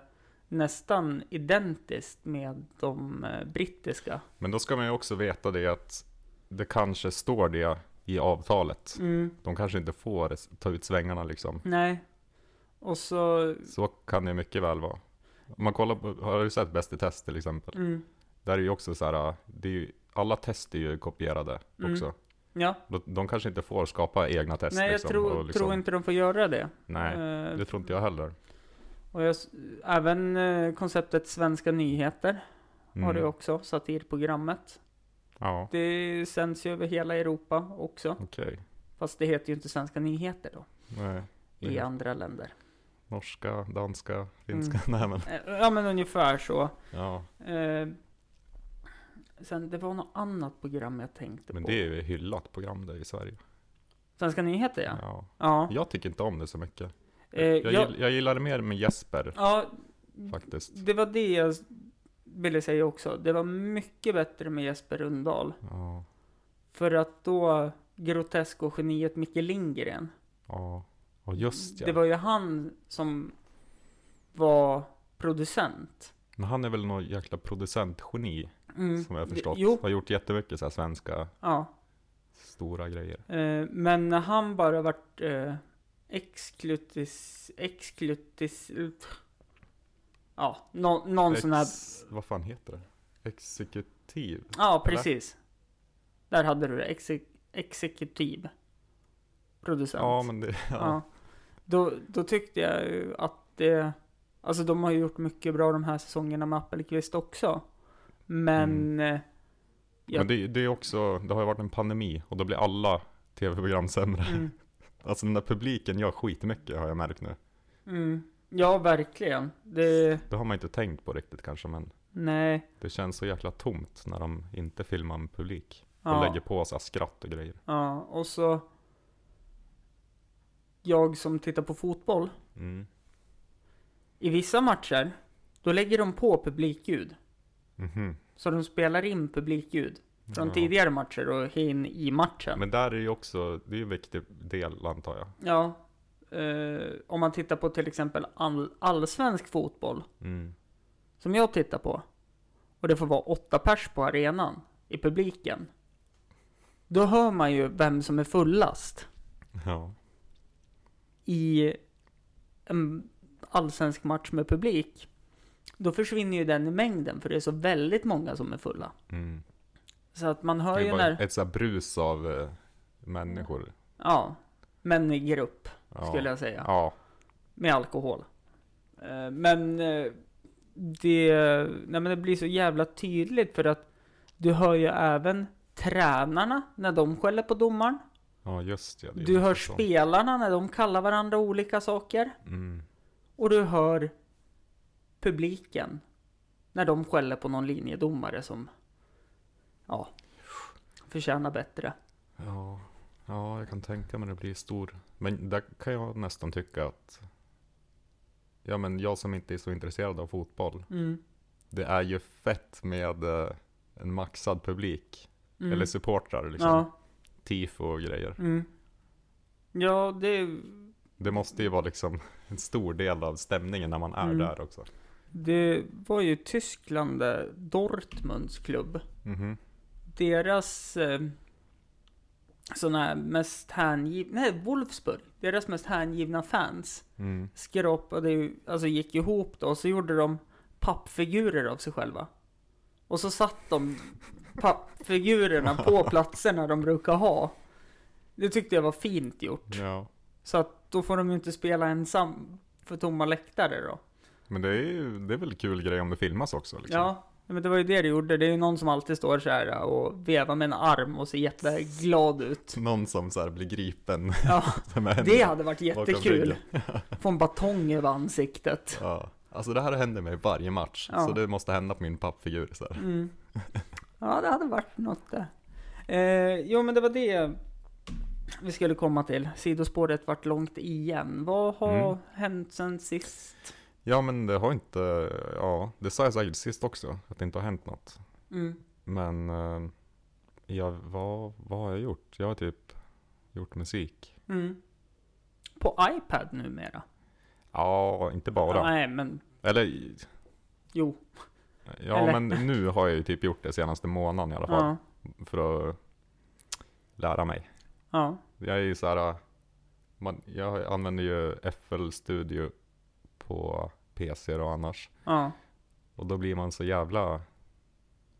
[SPEAKER 2] nästan identiskt med de eh, brittiska.
[SPEAKER 1] Men då ska man ju också veta det att det kanske står det i avtalet. De kanske inte får s- ta ut svängarna liksom.
[SPEAKER 2] Mm, Nej. Och så...
[SPEAKER 1] Så kan det mycket väl vara. Om man kollar på, har du sett Bäst i test till exempel?
[SPEAKER 2] Mm,
[SPEAKER 1] Där är ju också så här, det är ju, alla test är ju kopierade
[SPEAKER 2] Mm.
[SPEAKER 1] också.
[SPEAKER 2] ja.
[SPEAKER 1] De- De kanske inte får skapa egna test.
[SPEAKER 2] Nej, jag
[SPEAKER 1] liksom,
[SPEAKER 2] tror,
[SPEAKER 1] och liksom,
[SPEAKER 2] tror inte de får göra det.
[SPEAKER 1] Nej,
[SPEAKER 2] Eh,
[SPEAKER 1] det tror inte jag heller.
[SPEAKER 2] Och jag, s- även eh, konceptet Svenska nyheter har
[SPEAKER 1] Mm.
[SPEAKER 2] det också, satirprogrammet.
[SPEAKER 1] Ja,
[SPEAKER 2] Det sänds ju över hela Europa också.
[SPEAKER 1] okej.
[SPEAKER 2] Fast det heter ju inte Svenska nyheter då,
[SPEAKER 1] Nej.
[SPEAKER 2] i
[SPEAKER 1] Ja.
[SPEAKER 2] andra länder.
[SPEAKER 1] Norska, danska, finska. Nej, men,
[SPEAKER 2] Eh, Ja men ungefär så.
[SPEAKER 1] ja.
[SPEAKER 2] Eh, Sen, det var något annat program jag tänkte
[SPEAKER 1] men
[SPEAKER 2] på.
[SPEAKER 1] det är ju ett hyllat program där i Sverige.
[SPEAKER 2] Svenska nyheter ja.
[SPEAKER 1] Ja.
[SPEAKER 2] Ja.
[SPEAKER 1] Jag tycker inte om det så mycket.
[SPEAKER 2] Eh,
[SPEAKER 1] jag,
[SPEAKER 2] jag-
[SPEAKER 1] gill, jag gillar det mer med Jesper
[SPEAKER 2] ja,
[SPEAKER 1] faktiskt.
[SPEAKER 2] det var det jag s- ville säga också. Det var mycket bättre med Jesper Rundahl.
[SPEAKER 1] Ja,
[SPEAKER 2] För att då, grotesk och geniet Micke Lindgren.
[SPEAKER 1] ja. Och just ja.
[SPEAKER 2] Det var ju han som var producent.
[SPEAKER 1] Men han är väl någon jäkla producentgeni
[SPEAKER 2] Mm.
[SPEAKER 1] som jag har
[SPEAKER 2] det-
[SPEAKER 1] förstått.
[SPEAKER 2] Jo,
[SPEAKER 1] Har gjort jättemycket så här svenska
[SPEAKER 2] ja.
[SPEAKER 1] stora grejer.
[SPEAKER 2] Eh, men när han bara vart eh, exklutis... Exklutis... Ja, nå, någon sån här...
[SPEAKER 1] Ex, vad fan heter det? Exekutiv?
[SPEAKER 2] Ja, precis. Där hade du det. Exe, exekutiv producent.
[SPEAKER 1] Ja, men det...
[SPEAKER 2] Ja.
[SPEAKER 1] Ja.
[SPEAKER 2] Då, då tyckte jag ju att det... Alltså de har ju gjort mycket bra de här säsongerna med Appelqvist också. Men... eh, Ja.
[SPEAKER 1] Men det, det är också, det har ju varit en pandemi och då blir alla tv-program sämre.
[SPEAKER 2] Mm,
[SPEAKER 1] Alltså den där publiken gör skitmycket har jag märkt nu.
[SPEAKER 2] mm. Ja, verkligen. Det...
[SPEAKER 1] Det har man inte tänkt på riktigt kanske, men
[SPEAKER 2] Nej.
[SPEAKER 1] det känns så jäkla tomt när de inte filmar med publik. Och
[SPEAKER 2] Ja,
[SPEAKER 1] lägger på så här skratt och grejer.
[SPEAKER 2] ja. Och så... Jag som tittar på fotboll.
[SPEAKER 1] Mm.
[SPEAKER 2] I vissa matcher, då lägger de på publikljud.
[SPEAKER 1] Mhm.
[SPEAKER 2] Så de spelar in publikljud från tidigare matcher och in i matchen.
[SPEAKER 1] Men där är ju också, det är ju en viktig del antar jag.
[SPEAKER 2] Ja. Eh, om man tittar på till exempel all, allsvensk fotboll,
[SPEAKER 1] Mm.
[SPEAKER 2] som jag tittar på, och det får vara åtta pers på arenan i publiken. Då hör man ju vem som är fullast
[SPEAKER 1] Ja.
[SPEAKER 2] i en allsvensk match med publik. Då försvinner ju den i mängden, för det är så väldigt många som är fulla.
[SPEAKER 1] Mm.
[SPEAKER 2] Så att man hör
[SPEAKER 1] Det
[SPEAKER 2] ju
[SPEAKER 1] är bara
[SPEAKER 2] när...
[SPEAKER 1] ett så här brus av eh, människor.
[SPEAKER 2] Ja, men i grupp,
[SPEAKER 1] Ja.
[SPEAKER 2] Mm. skulle jag säga.
[SPEAKER 1] Ja.
[SPEAKER 2] Med alkohol. Eh, Men eh, det, nej men det blir så jävla tydligt för att du hör ju även tränarna när de skäller på domaren.
[SPEAKER 1] Ja, just det. det är
[SPEAKER 2] Du hör
[SPEAKER 1] också sånt.
[SPEAKER 2] spelarna när de kallar varandra olika saker.
[SPEAKER 1] Mm.
[SPEAKER 2] Och du hör publiken när de skäller på någon linjedomare som ja, förtjänar bättre.
[SPEAKER 1] Ja. ja, jag kan tänka mig det blir stor. Men där kan jag nästan tycka att Ja men jag som inte är så intresserad av fotboll.
[SPEAKER 2] Mm.
[SPEAKER 1] Det är ju fett med eh, en maxad publik.
[SPEAKER 2] Mm.
[SPEAKER 1] Eller supportrar liksom.
[SPEAKER 2] Ja,
[SPEAKER 1] Tifo och grejer.
[SPEAKER 2] mm. ja det,
[SPEAKER 1] Det måste ju vara liksom en stor del av stämningen när man är
[SPEAKER 2] Mm.
[SPEAKER 1] där också.
[SPEAKER 2] det var ju Tyskland, eh, Dortmunds klubb.
[SPEAKER 1] Mhm.
[SPEAKER 2] Deras eh, sådana här mest hängivna, nej Wolfsburg, deras mest hängivna fans
[SPEAKER 1] Mm.
[SPEAKER 2] skrapade ju, alltså gick ihop då och så gjorde de pappfigurer av sig själva. Och så satt de pappfigurerna på platserna de brukar ha. Det tyckte jag var fint gjort.
[SPEAKER 1] Ja.
[SPEAKER 2] Så att då får de ju inte spela ensam för tomma läktare då.
[SPEAKER 1] Men det är ju, det är väl kul grej om det filmas också liksom.
[SPEAKER 2] Ja, men det var ju det du gjorde. Det är ju någon som alltid står så här äh, och vevar med en arm och ser jätteglad ut.
[SPEAKER 1] Någon som så här blir gripen.
[SPEAKER 2] Ja,
[SPEAKER 1] med händerna
[SPEAKER 2] det hade varit
[SPEAKER 1] bakom
[SPEAKER 2] jättekul.
[SPEAKER 1] ryggen.
[SPEAKER 2] Få en batong över ansiktet.
[SPEAKER 1] Ja. Alltså det här händer mig varje match,
[SPEAKER 2] typ. Ja.
[SPEAKER 1] så det måste hända på min pappfigur. Så här.
[SPEAKER 2] Mm. Ja, det hade varit något det. Eh, jo, men det var det vi skulle komma till. Sidospåret vart långt igen. Vad har
[SPEAKER 1] Mm.
[SPEAKER 2] hänt sen sist?
[SPEAKER 1] Ja men det har inte, ja det sa jag säkert sist också, att det inte har hänt något.
[SPEAKER 2] Mm.
[SPEAKER 1] Men eh, jag, vad, vad har jag gjort? Jag har typ gjort musik.
[SPEAKER 2] Mm. På iPad numera?
[SPEAKER 1] Ja, inte bara.
[SPEAKER 2] Nej, men
[SPEAKER 1] Eller
[SPEAKER 2] jo.
[SPEAKER 1] ja,
[SPEAKER 2] Eller-
[SPEAKER 1] men nu har jag ju typ gjort det senaste månaden i alla fall.
[SPEAKER 2] Ja,
[SPEAKER 1] För att lära mig.
[SPEAKER 2] ja.
[SPEAKER 1] Jag är ju så här, man, jag använder ju FL Studio på PC och annars.
[SPEAKER 2] ja.
[SPEAKER 1] Och då blir man så jävla...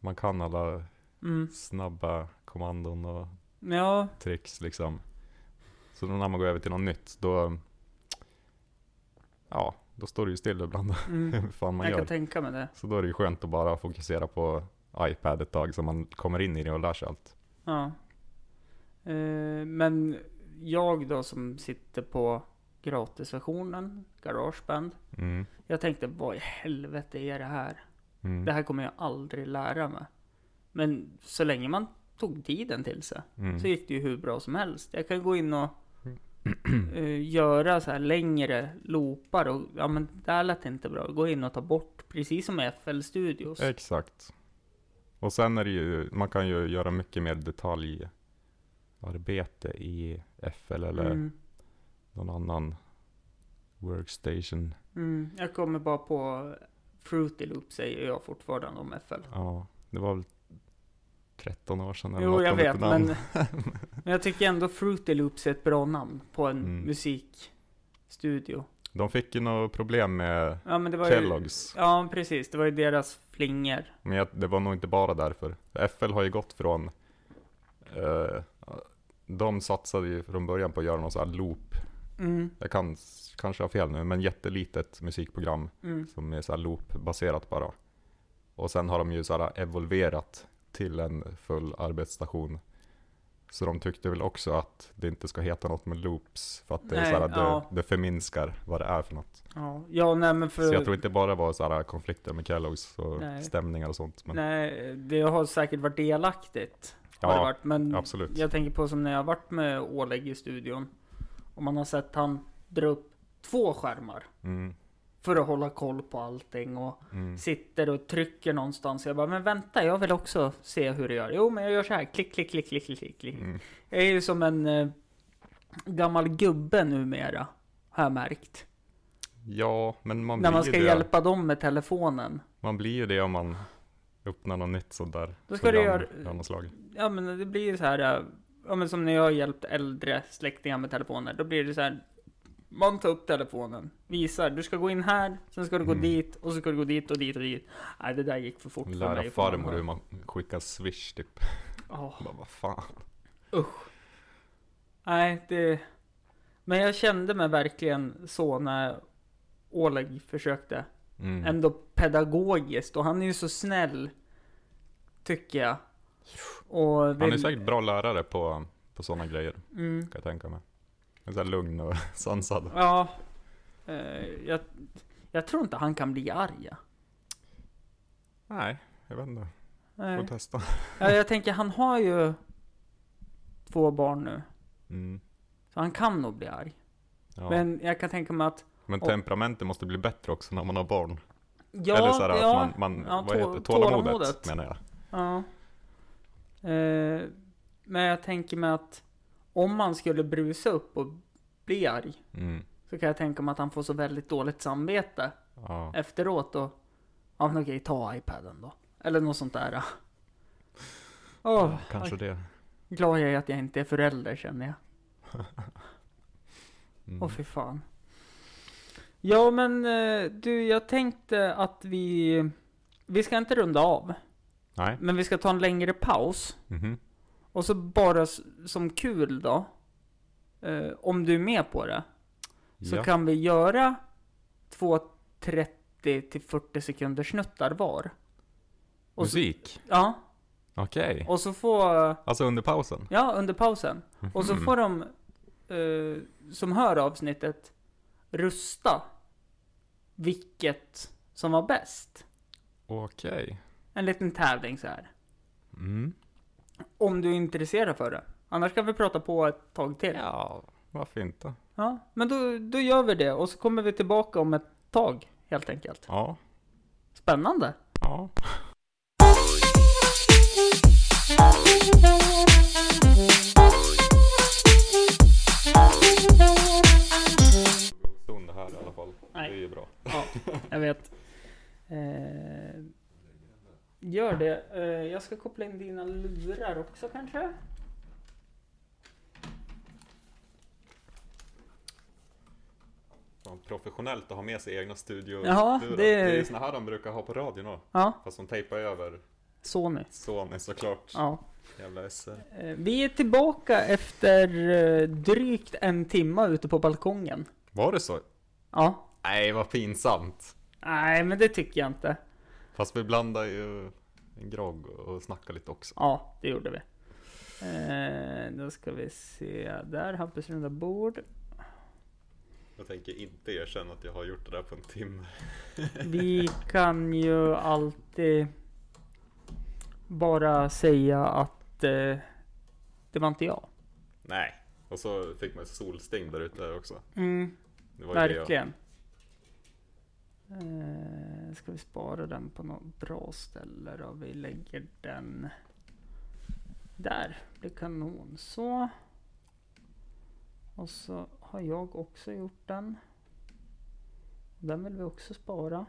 [SPEAKER 1] Man kan alla
[SPEAKER 2] Mm.
[SPEAKER 1] snabba kommandon och
[SPEAKER 2] Ja,
[SPEAKER 1] tricks liksom. Så då när man går över till något nytt då... Ja, då står det ju still ibland
[SPEAKER 2] mm.
[SPEAKER 1] hur fan man
[SPEAKER 2] jag kan
[SPEAKER 1] gör.
[SPEAKER 2] tänka mig det.
[SPEAKER 1] Så då är det ju skönt att bara fokusera på iPad ett tag så man kommer in i det och lär sig allt.
[SPEAKER 2] Ja. Eh, men jag då som sitter på gratisversionen, Garageband.
[SPEAKER 1] Mm.
[SPEAKER 2] Jag tänkte, vad i helvete är det här?
[SPEAKER 1] Mm.
[SPEAKER 2] Det här kommer jag aldrig lära mig. Men så länge man tog tiden till sig
[SPEAKER 1] Mm.
[SPEAKER 2] så gick det ju hur bra som helst. Jag kan gå in och
[SPEAKER 1] Mm.
[SPEAKER 2] eh, göra så här längre loopar och ja men det här lät inte bra. Gå in och ta bort precis som i FL Studios.
[SPEAKER 1] Exakt. Och sen är det ju, man kan ju göra mycket mer detaljarbete i FL eller
[SPEAKER 2] Mm,
[SPEAKER 1] någon annan workstation.
[SPEAKER 2] mm. Jag kommer bara på Fruity Loop säger jag fortfarande om FL.
[SPEAKER 1] Ja, det var väl 13 år sedan eller
[SPEAKER 2] Jo
[SPEAKER 1] något
[SPEAKER 2] jag
[SPEAKER 1] om ett
[SPEAKER 2] vet men,
[SPEAKER 1] namn.
[SPEAKER 2] men jag tycker ändå Fruity Loops är ett bra namn på en
[SPEAKER 1] Mm.
[SPEAKER 2] musikstudio.
[SPEAKER 1] De fick ju något problem med
[SPEAKER 2] Ja men det var ju
[SPEAKER 1] Kelloggs.
[SPEAKER 2] Ja, precis. Det var ju deras flingor.
[SPEAKER 1] Men jag, det var nog inte bara därför. FL har ju gått från... eh, de satsade ju från början på att göra någon sån här loop.
[SPEAKER 2] Mm,
[SPEAKER 1] Jag kan, kanske har fel nu, men jättelitet musikprogram.
[SPEAKER 2] mm,
[SPEAKER 1] som är så här loop-baserat bara. Och sen har de ju så här evolverat till en full arbetsstation. Så de tyckte väl också att det inte ska heta något med loops för att det, är
[SPEAKER 2] Nej,
[SPEAKER 1] så här, det,
[SPEAKER 2] ja.
[SPEAKER 1] det förminskar vad det är för något.
[SPEAKER 2] ja. ja, nej men för...
[SPEAKER 1] Så jag tror inte bara det var så här konflikter med Kelloggs och
[SPEAKER 2] Nej.
[SPEAKER 1] stämningar och sånt. Men
[SPEAKER 2] Nej, det har säkert varit delaktigt. Har
[SPEAKER 1] Ja,
[SPEAKER 2] det varit. Men
[SPEAKER 1] absolut.
[SPEAKER 2] jag tänker på som när jag har varit med Oleg i studion. Och man har sett han dra upp två skärmar.
[SPEAKER 1] Mm,
[SPEAKER 2] För att hålla koll på allting och
[SPEAKER 1] mm,
[SPEAKER 2] sitter och trycker någonstans. Jag bara, men vänta, jag vill också se hur det gör. Jo, men jag gör så här. Klick, klick, klick, klick, klick, klick, klick.
[SPEAKER 1] mm.
[SPEAKER 2] Jag är ju som en eh, gammal gubbe numera. Har jag märkt.
[SPEAKER 1] Ja, men man
[SPEAKER 2] När
[SPEAKER 1] blir,
[SPEAKER 2] man
[SPEAKER 1] ju
[SPEAKER 2] ska
[SPEAKER 1] det.
[SPEAKER 2] hjälpa dem med telefonen.
[SPEAKER 1] man blir ju det om man öppnar något nytt sånt där
[SPEAKER 2] Då ska du göra-
[SPEAKER 1] av något slag.
[SPEAKER 2] Ja men det blir ju så här, eh, ja men som när jag har hjälpt äldre släktingar med telefoner, då blir det så här. Man tar upp telefonen, visar, du ska gå in här, sen ska du gå
[SPEAKER 1] Mm.
[SPEAKER 2] dit, och så ska du gå dit och dit och dit. Nej det där gick för fort för
[SPEAKER 1] Lära
[SPEAKER 2] mig.
[SPEAKER 1] farmor hur man skickar swish typ.
[SPEAKER 2] Ja,
[SPEAKER 1] Bara, vad fan.
[SPEAKER 2] nej det... Men jag kände mig verkligen så när Oleg försökte.
[SPEAKER 1] Mm.
[SPEAKER 2] Ändå pedagogiskt, och han är ju så snäll. Tycker jag. Och
[SPEAKER 1] Han är
[SPEAKER 2] vill-
[SPEAKER 1] säkert bra lärare på på sådana grejer.
[SPEAKER 2] Mm.
[SPEAKER 1] Kan jag tänka mig. En sån här lugn och sansad.
[SPEAKER 2] Ja. Eh, jag, jag tror inte han kan bli arg. ja.
[SPEAKER 1] Nej, jag vet inte. Får
[SPEAKER 2] Nej.
[SPEAKER 1] testa.
[SPEAKER 2] Ja, jag tänker, han har ju två barn nu.
[SPEAKER 1] Mm.
[SPEAKER 2] Så han kan nog bli arg.
[SPEAKER 1] Ja. Men,
[SPEAKER 2] Men jag kan tänka mig att... och-
[SPEAKER 1] temperamentet måste bli bättre också när man har barn.
[SPEAKER 2] Ja,
[SPEAKER 1] Eller så här,
[SPEAKER 2] ja,
[SPEAKER 1] att man, man
[SPEAKER 2] ja,
[SPEAKER 1] vad
[SPEAKER 2] tå-
[SPEAKER 1] heter, det? tålamodet,
[SPEAKER 2] tålamodet.
[SPEAKER 1] menar jag.
[SPEAKER 2] Ja. Eh, men jag tänker mig att om man skulle brusa upp och bli arg
[SPEAKER 1] Mm.
[SPEAKER 2] så kan jag tänka mig att han får så väldigt dåligt samvete
[SPEAKER 1] Ja.
[SPEAKER 2] efteråt och ja men okej, ta iPaden då. Eller något sånt där. Åh,
[SPEAKER 1] Kanske det.
[SPEAKER 2] glad jag är att jag inte är förälder känner jag.
[SPEAKER 1] Mm.
[SPEAKER 2] Åh fy fan. Ja men eh, du, jag tänkte att vi... Vi ska inte runda av,
[SPEAKER 1] Nej.
[SPEAKER 2] men vi ska ta en längre paus.
[SPEAKER 1] Mhm.
[SPEAKER 2] Och så bara s- som kul då, eh, om du är med på det, så
[SPEAKER 1] Ja.
[SPEAKER 2] kan vi göra två 30 till 40 sekunder snuttar var. Och så,
[SPEAKER 1] Musik?
[SPEAKER 2] ja,
[SPEAKER 1] Okej.
[SPEAKER 2] och så får,
[SPEAKER 1] Alltså under pausen?
[SPEAKER 2] ja under pausen. Och så
[SPEAKER 1] Mhm.
[SPEAKER 2] får de eh, som hör avsnittet rösta vilket som var bäst.
[SPEAKER 1] Okej.
[SPEAKER 2] En liten tävling så här.
[SPEAKER 1] Mm.
[SPEAKER 2] Om du är intresserad för det. Annars kan vi prata på ett tag till.
[SPEAKER 1] Ja, varför inte?
[SPEAKER 2] Ja, men då, då gör vi det och så kommer vi tillbaka om ett tag helt enkelt.
[SPEAKER 1] Ja.
[SPEAKER 2] Spännande!
[SPEAKER 1] ja. Stund här i alla fall.
[SPEAKER 2] Nej.
[SPEAKER 1] Det är ju bra.
[SPEAKER 2] Ja, jag vet. Eh, gör det. Eh, jag ska koppla in dina lurar också kanske?
[SPEAKER 1] Fan, professionellt att ha med sig egna studio.
[SPEAKER 2] Ja,
[SPEAKER 1] lurar.
[SPEAKER 2] det är-
[SPEAKER 1] det är ju såna här de brukar ha på radion också.
[SPEAKER 2] Ja,
[SPEAKER 1] Fast de tejpar över
[SPEAKER 2] Sony.
[SPEAKER 1] Sony såklart.
[SPEAKER 2] Ja.
[SPEAKER 1] Jävla SR.
[SPEAKER 2] Eh, vi är tillbaka efter eh, drygt en timme ute på balkongen.
[SPEAKER 1] Var det så?
[SPEAKER 2] Ja.
[SPEAKER 1] Nej, vad pinsamt.
[SPEAKER 2] Nej, men det tycker jag inte.
[SPEAKER 1] Fast vi blandar ju en grogg och snackar lite också.
[SPEAKER 2] Ja, det gjorde vi. Eh, då ska vi se. Där, Hampus runda bord.
[SPEAKER 1] Jag tänker inte erkänna att jag har gjort det där på en timme.
[SPEAKER 2] Vi kan ju alltid bara säga att eh, det var inte jag.
[SPEAKER 1] Nej. Och så fick man solsting där ute också.
[SPEAKER 2] Mm,
[SPEAKER 1] Det var ju det jag...
[SPEAKER 2] verkligen. Eh, ska vi spara den på något bra ställe då? Vi lägger den där. Det är kanon. Så. Och så har jag också gjort den. Den vill vi också spara.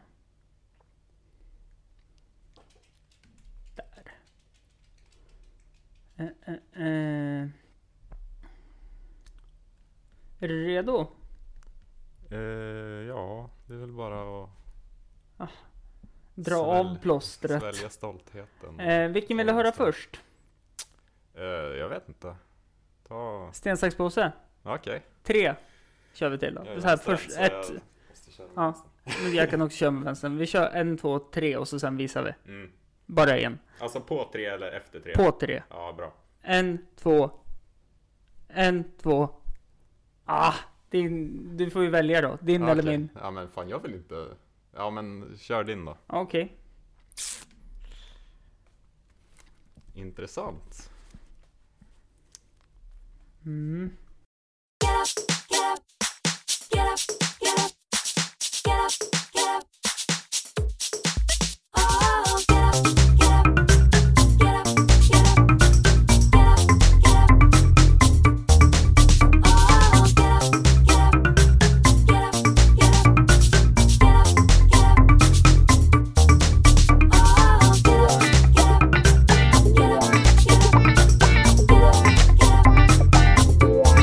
[SPEAKER 2] Där. Eh, eh, eh. Är du redo?
[SPEAKER 1] Eh, ja, det är väl bara att
[SPEAKER 2] Dra
[SPEAKER 1] Svälj-
[SPEAKER 2] av plåstret.
[SPEAKER 1] svälja stoltheten.
[SPEAKER 2] Eh, vilken vill du
[SPEAKER 1] Ja,
[SPEAKER 2] höra
[SPEAKER 1] just det.
[SPEAKER 2] först?
[SPEAKER 1] Eh, jag vet inte. Ta...
[SPEAKER 2] Sten, sax, påse?
[SPEAKER 1] Okej.
[SPEAKER 2] Tre kör vi till då.
[SPEAKER 1] Jag är
[SPEAKER 2] så här,
[SPEAKER 1] vänster,
[SPEAKER 2] först
[SPEAKER 1] så
[SPEAKER 2] ett.
[SPEAKER 1] jag måste köra med
[SPEAKER 2] Ja.
[SPEAKER 1] vänster.
[SPEAKER 2] Men Jag kan också köra med vänstern. Vi kör en, två, tre och så sen visar vi.
[SPEAKER 1] Mm.
[SPEAKER 2] Bara en.
[SPEAKER 1] Alltså på tre eller efter tre?
[SPEAKER 2] På tre.
[SPEAKER 1] Ja, bra.
[SPEAKER 2] En, två. En, två. Ah, din, du får ju välja då. Din
[SPEAKER 1] Ja,
[SPEAKER 2] eller
[SPEAKER 1] okej.
[SPEAKER 2] min.
[SPEAKER 1] Ja men fan jag vill inte... Ja men kör din då.
[SPEAKER 2] Ja, Okej.
[SPEAKER 1] Intressant.
[SPEAKER 2] Mm.
[SPEAKER 3] Yeah.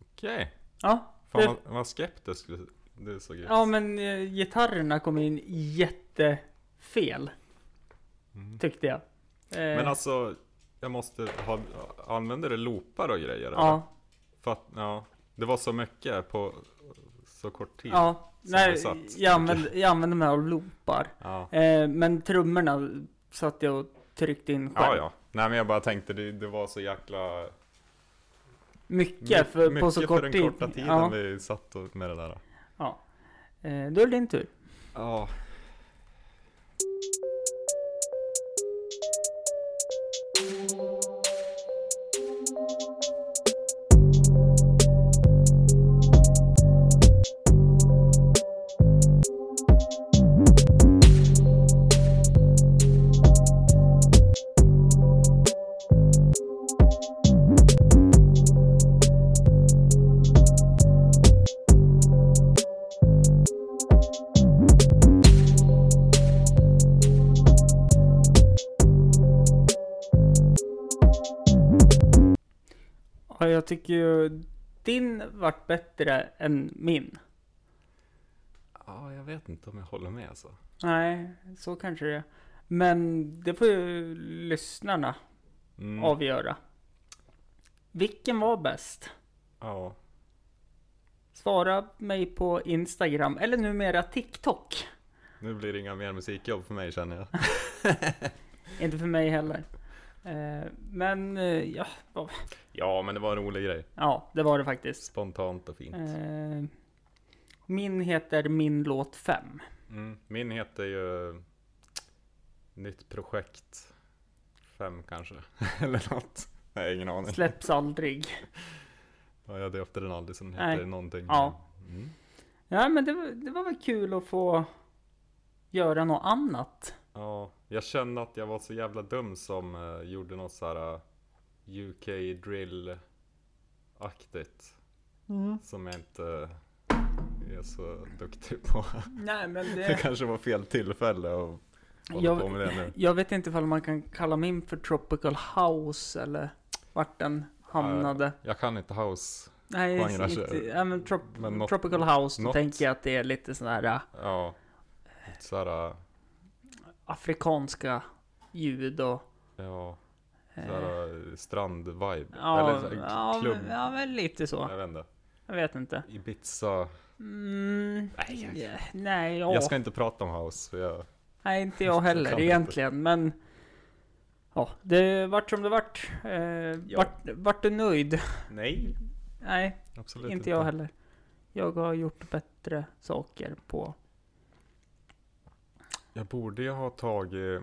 [SPEAKER 1] Okej.
[SPEAKER 2] Ja,
[SPEAKER 1] Fan
[SPEAKER 2] Det-
[SPEAKER 1] vad, vad skeptisk du, du såg ut.
[SPEAKER 2] ja men eh, gitarrerna kom in jättefel
[SPEAKER 1] Mm.
[SPEAKER 2] tyckte jag. Eh,
[SPEAKER 1] Men alltså, jag måste ha, använder du loopar och grejer? eller?
[SPEAKER 2] ja,
[SPEAKER 1] För att, ja, det var så mycket på så kort tid.
[SPEAKER 2] ja.
[SPEAKER 1] som det
[SPEAKER 2] Nej,
[SPEAKER 1] satt.
[SPEAKER 2] jag använde, jag använde mig av loopar.
[SPEAKER 1] Ja,
[SPEAKER 2] Eh, men trummorna satt jag och tryckte in
[SPEAKER 1] ja.
[SPEAKER 2] själv.
[SPEAKER 1] ja. Nej men jag bara tänkte det, det var så jäkla
[SPEAKER 2] Mycket, för,
[SPEAKER 1] mycket
[SPEAKER 2] på så kort
[SPEAKER 1] för den
[SPEAKER 2] tid.
[SPEAKER 1] korta tiden
[SPEAKER 2] ja.
[SPEAKER 1] vi satt och, med det där.
[SPEAKER 2] ja. Eh, då är det din tur.
[SPEAKER 1] Ja.
[SPEAKER 2] Ja, jag tycker ju din vart bättre än min.
[SPEAKER 1] ja, jag vet inte om jag håller med alltså.
[SPEAKER 2] Nej, så kanske det är. Men det får ju lyssnarna
[SPEAKER 1] Mm.
[SPEAKER 2] avgöra. Vilken var bäst?
[SPEAKER 1] Ja.
[SPEAKER 2] Svara mig på Instagram eller numera TikTok.
[SPEAKER 1] Nu blir det inga mer musikjobb för mig känner jag.
[SPEAKER 2] Inte för mig heller. Eh, Men eh, ja, vad-
[SPEAKER 1] Ja, men det var en rolig grej.
[SPEAKER 2] ja, det var det faktiskt.
[SPEAKER 1] Spontant och fint.
[SPEAKER 2] Eh, Min heter Min låt 5.
[SPEAKER 1] Mm. Min heter ju Nytt projekt 5 kanske. Eller något. Nej, ingen aning.
[SPEAKER 2] Släpps aldrig.
[SPEAKER 1] Ja, jag döpte den aldrig så den
[SPEAKER 2] Nej.
[SPEAKER 1] heter någonting.
[SPEAKER 2] Ja.
[SPEAKER 1] Mm.
[SPEAKER 2] Ja, men det, var- det var väl kul att få göra något annat.
[SPEAKER 1] ja. Jag kände att jag var så jävla dum som eh, gjorde något så här eh, UK drill-aktigt.
[SPEAKER 2] Mm.
[SPEAKER 1] Som jag inte eh, är så duktig på.
[SPEAKER 2] Nej, men
[SPEAKER 1] Det kanske var fel tillfälle att hålla på
[SPEAKER 2] Jag,
[SPEAKER 1] med det nu.
[SPEAKER 2] jag vet inte ifall man kan kalla min för Tropical House eller vart den hamnade.
[SPEAKER 1] Jag kan inte house.
[SPEAKER 2] Nej,
[SPEAKER 1] genren
[SPEAKER 2] inte,
[SPEAKER 1] kör.
[SPEAKER 2] ja, men trop,
[SPEAKER 1] Men något-
[SPEAKER 2] Tropical House, då
[SPEAKER 1] något.
[SPEAKER 2] tänker jag att det är lite sådana här äh,
[SPEAKER 1] Ja. Så här, eh,
[SPEAKER 2] afrikanska ljud och...
[SPEAKER 1] ja.
[SPEAKER 2] eh,
[SPEAKER 1] Såhär strand-vibe.
[SPEAKER 2] ja,
[SPEAKER 1] Eller så här
[SPEAKER 2] ja,
[SPEAKER 1] klubb.
[SPEAKER 2] men- ja, men lite så.
[SPEAKER 1] Jag vet inte.
[SPEAKER 2] Jag vet inte.
[SPEAKER 1] Ibiza.
[SPEAKER 2] Mm, nej, nej, ja.
[SPEAKER 1] Jag ska inte prata om house. För jag,
[SPEAKER 2] Nej, inte jag heller
[SPEAKER 1] Kan inte.
[SPEAKER 2] egentligen, men... Ja, det vart som det vart. Eh, vart, vart du nöjd?
[SPEAKER 1] nej,
[SPEAKER 2] Nej,
[SPEAKER 1] absolut
[SPEAKER 2] inte jag heller. Jag har gjort bättre saker på...
[SPEAKER 1] Jag borde ju ha tagit...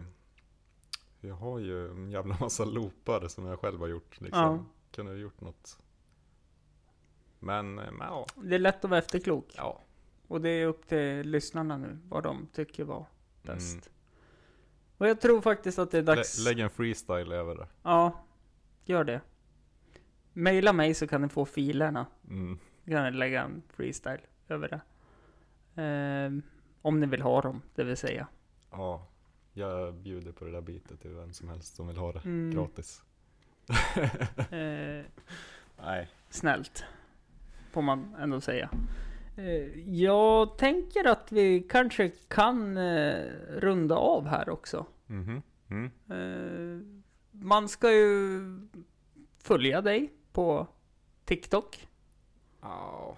[SPEAKER 1] Jag har ju en jävla massa loopar som jag själv har gjort. Liksom.
[SPEAKER 2] Ja.
[SPEAKER 1] Kunde ha gjort något. Men, eh, men ja.
[SPEAKER 2] Det är lätt att vara efterklok.
[SPEAKER 1] ja.
[SPEAKER 2] Och det är upp till lyssnarna nu, vad de tycker var bäst.
[SPEAKER 1] Mm.
[SPEAKER 2] Och jag tror faktiskt att det är dags...
[SPEAKER 1] Lä, lägg en freestyle över det.
[SPEAKER 2] Ja, gör det. Maila mig så kan ni få filerna.
[SPEAKER 1] Mm.
[SPEAKER 2] Då kan ni lägga en freestyle över det. Ehm, om ni vill ha dem, det vill säga.
[SPEAKER 1] Ja, jag bjuder på det där bitet till vem som helst som vill ha det
[SPEAKER 2] Mm.
[SPEAKER 1] gratis.
[SPEAKER 2] Eh,
[SPEAKER 1] Nej.
[SPEAKER 2] snällt. Får man ändå säga. Eh, Jag tänker att vi kanske kan eh, runda av här också.
[SPEAKER 1] Mhm. Mm.
[SPEAKER 2] Eh, Man ska ju följa dig på TikTok.
[SPEAKER 1] Ja,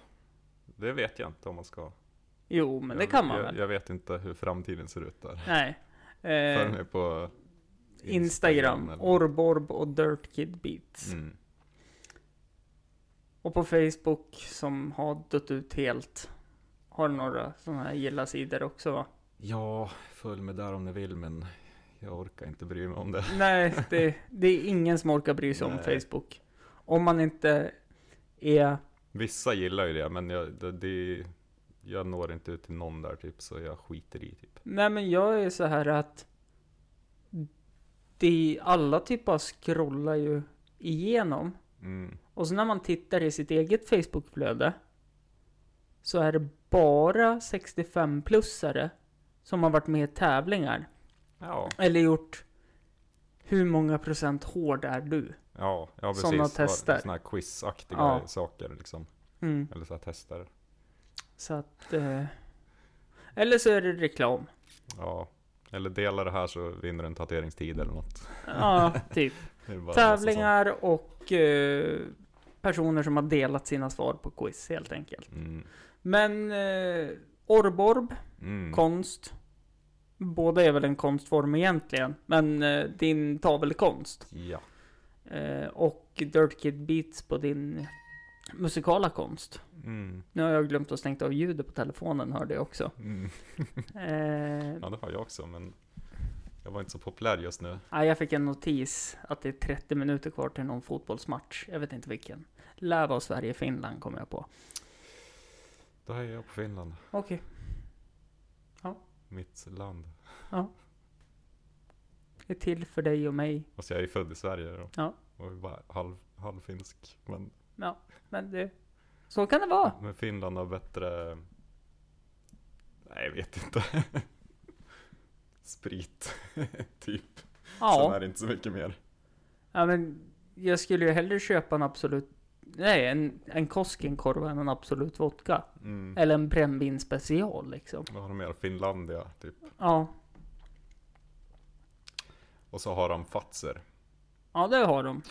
[SPEAKER 1] det vet jag inte om man ska.
[SPEAKER 2] Jo, men det
[SPEAKER 1] jag,
[SPEAKER 2] kan man
[SPEAKER 1] jag,
[SPEAKER 2] väl?
[SPEAKER 1] Jag vet inte hur framtiden ser ut där.
[SPEAKER 2] Nej. Eh,
[SPEAKER 1] Följ mig på
[SPEAKER 2] Instagram,
[SPEAKER 1] eller-
[SPEAKER 2] Orborb och Dirt Kid Beats.
[SPEAKER 1] Mm.
[SPEAKER 2] Och på Facebook som har dött ut helt. Har några sådana här gilla-sidor också va?
[SPEAKER 1] Ja, följ mig där om ni vill, men jag orkar inte bry mig om det.
[SPEAKER 2] Nej, det, det är ingen som orkar bry sig om
[SPEAKER 1] Nej.
[SPEAKER 2] Facebook. Om man inte är...
[SPEAKER 1] Vissa gillar ju det, men jag, det, det, jag når inte ut till någon där typ, så jag skiter i typ.
[SPEAKER 2] Nej men jag är så här att... Det, alla typ bara scrollar ju igenom.
[SPEAKER 1] Mm.
[SPEAKER 2] Och så när man tittar i sitt eget Facebookflöde. Så är det bara 65-plussare som har varit med i tävlingar.
[SPEAKER 1] Ja,
[SPEAKER 2] Eller gjort... Hur många procent hård är du?
[SPEAKER 1] ja, ja precis.
[SPEAKER 2] Såna tester.
[SPEAKER 1] Sådana här quizaktiga
[SPEAKER 2] Ja.
[SPEAKER 1] saker liksom.
[SPEAKER 2] Mm.
[SPEAKER 1] Eller så här tester.
[SPEAKER 2] Så att... Eh, eller så är det reklam.
[SPEAKER 1] Ja. Eller dela det här så vinner du en tatueringstid eller något.
[SPEAKER 2] Ja, typ.
[SPEAKER 1] Det är bara en massa
[SPEAKER 2] Tävlingar och eh, personer som har delat sina svar på quiz helt enkelt.
[SPEAKER 1] sånt. Mm.
[SPEAKER 2] Men eh, Orborb,
[SPEAKER 1] Mm.
[SPEAKER 2] konst. Båda är väl en konstform egentligen, men eh, din tavelkonst.
[SPEAKER 1] Ja.
[SPEAKER 2] Eh, och Dirt Kid Beats på din musikala konst.
[SPEAKER 1] Mm.
[SPEAKER 2] Nu har jag glömt att stänga av ljudet på telefonen hörde jag också.
[SPEAKER 1] Mm.
[SPEAKER 2] Eh,
[SPEAKER 1] Ja, det har jag också, men jag var inte så populär just nu.
[SPEAKER 2] ja, jag fick en notis att det är 30 minuter kvar till någon fotbollsmatch. Jag vet inte vilken. Lär vara Sverige-Finland kommer jag på.
[SPEAKER 1] Då är jag på Finland,
[SPEAKER 2] Okej,
[SPEAKER 1] mitt land.
[SPEAKER 2] det är till för dig och mig.
[SPEAKER 1] Och så jag är ju född i Sverige då.
[SPEAKER 2] Ja.
[SPEAKER 1] Och bara halv, halvfinsk. Men,
[SPEAKER 2] Men det, så kan det vara.
[SPEAKER 1] men Finland har bättre... Nej, jag vet inte. Sprit, typ. Sen är
[SPEAKER 2] Ja,
[SPEAKER 1] det inte så mycket mer.
[SPEAKER 2] ja men jag skulle ju hellre köpa en Absolut... Nej, en, en Koskenkorva än en Absolut Vodka.
[SPEAKER 1] Mm.
[SPEAKER 2] Eller en brännvin special liksom.
[SPEAKER 1] Vad har de mer? Finlandia, typ.
[SPEAKER 2] Ja,
[SPEAKER 1] Och så har de Fatser.
[SPEAKER 2] ja det har de.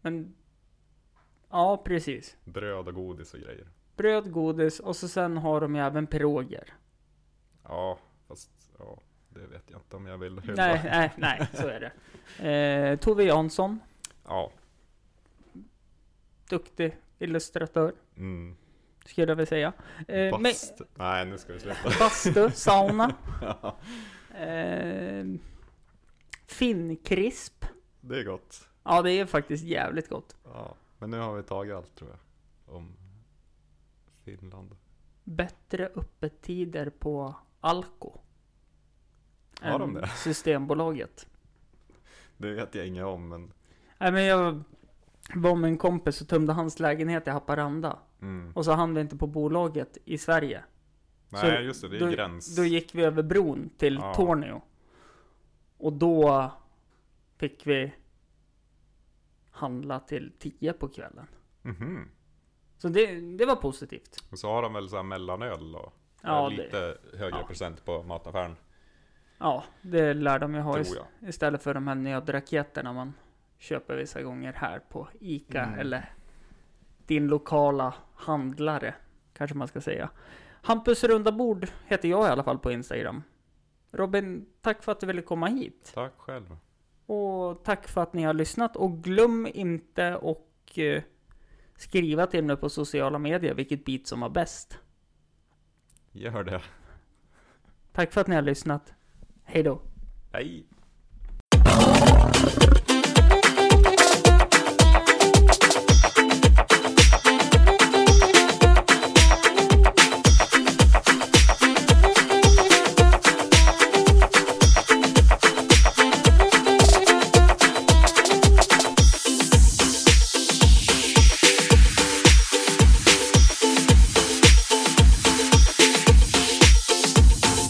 [SPEAKER 2] Men... Ja, precis.
[SPEAKER 1] Bröd och godis och grejer.
[SPEAKER 2] Bröd, godis och så sen har de ju även piroger.
[SPEAKER 1] Ja, fast ja, det vet jag inte om jag vill hylla.
[SPEAKER 2] Nej, nej, nej, så är det. Eh, Tove Jansson,
[SPEAKER 1] Ja.
[SPEAKER 2] duktig illustratör,
[SPEAKER 1] Mm.
[SPEAKER 2] skulle jag vilja säga. Eh, men,
[SPEAKER 1] Bast. Nej, nu ska vi sluta.
[SPEAKER 2] bastu, sauna. Eh, Finnkrisp.
[SPEAKER 1] Det är gott.
[SPEAKER 2] Ja, det är faktiskt jävligt gott.
[SPEAKER 1] Ja. Men nu har vi tagit allt tror jag. Om Finland.
[SPEAKER 2] Bättre öppettider på Alko.
[SPEAKER 1] Har de
[SPEAKER 2] än
[SPEAKER 1] det?
[SPEAKER 2] Systembolaget.
[SPEAKER 1] Det vet jag inget om, men
[SPEAKER 2] Nej, men jag var med en kompis och tömde hans lägenhet i Haparanda.
[SPEAKER 1] mm.
[SPEAKER 2] Och så hann vi inte på bolaget i Sverige.
[SPEAKER 1] Nej, just det. Det är
[SPEAKER 2] då-
[SPEAKER 1] gräns.
[SPEAKER 2] Då gick vi över bron till
[SPEAKER 1] Ja.
[SPEAKER 2] Tornio. Och då fick vi handla till 10 på kvällen.
[SPEAKER 1] Mhm.
[SPEAKER 2] Så det, det var positivt.
[SPEAKER 1] Och så har de väl så här mellanöl och
[SPEAKER 2] Ja, det-
[SPEAKER 1] lite högre
[SPEAKER 2] ja.
[SPEAKER 1] procent på mataffären,
[SPEAKER 2] Ja, det lär de ju ha
[SPEAKER 1] tror
[SPEAKER 2] ist-
[SPEAKER 1] jag.
[SPEAKER 2] istället för de här nödraketerna man köper vissa gånger här på Ica
[SPEAKER 1] Mm.
[SPEAKER 2] eller din lokala handlare kanske man ska säga. Hampus runda bord heter jag i alla fall på Instagram. Robin, tack för att du ville komma hit.
[SPEAKER 1] Tack själv.
[SPEAKER 2] Och tack för att ni har lyssnat och glöm inte och eh, skriva till mig på sociala medier vilket beat som var bäst.
[SPEAKER 1] Gör det.
[SPEAKER 2] Tack för att ni har lyssnat. Hej då!
[SPEAKER 1] Hej!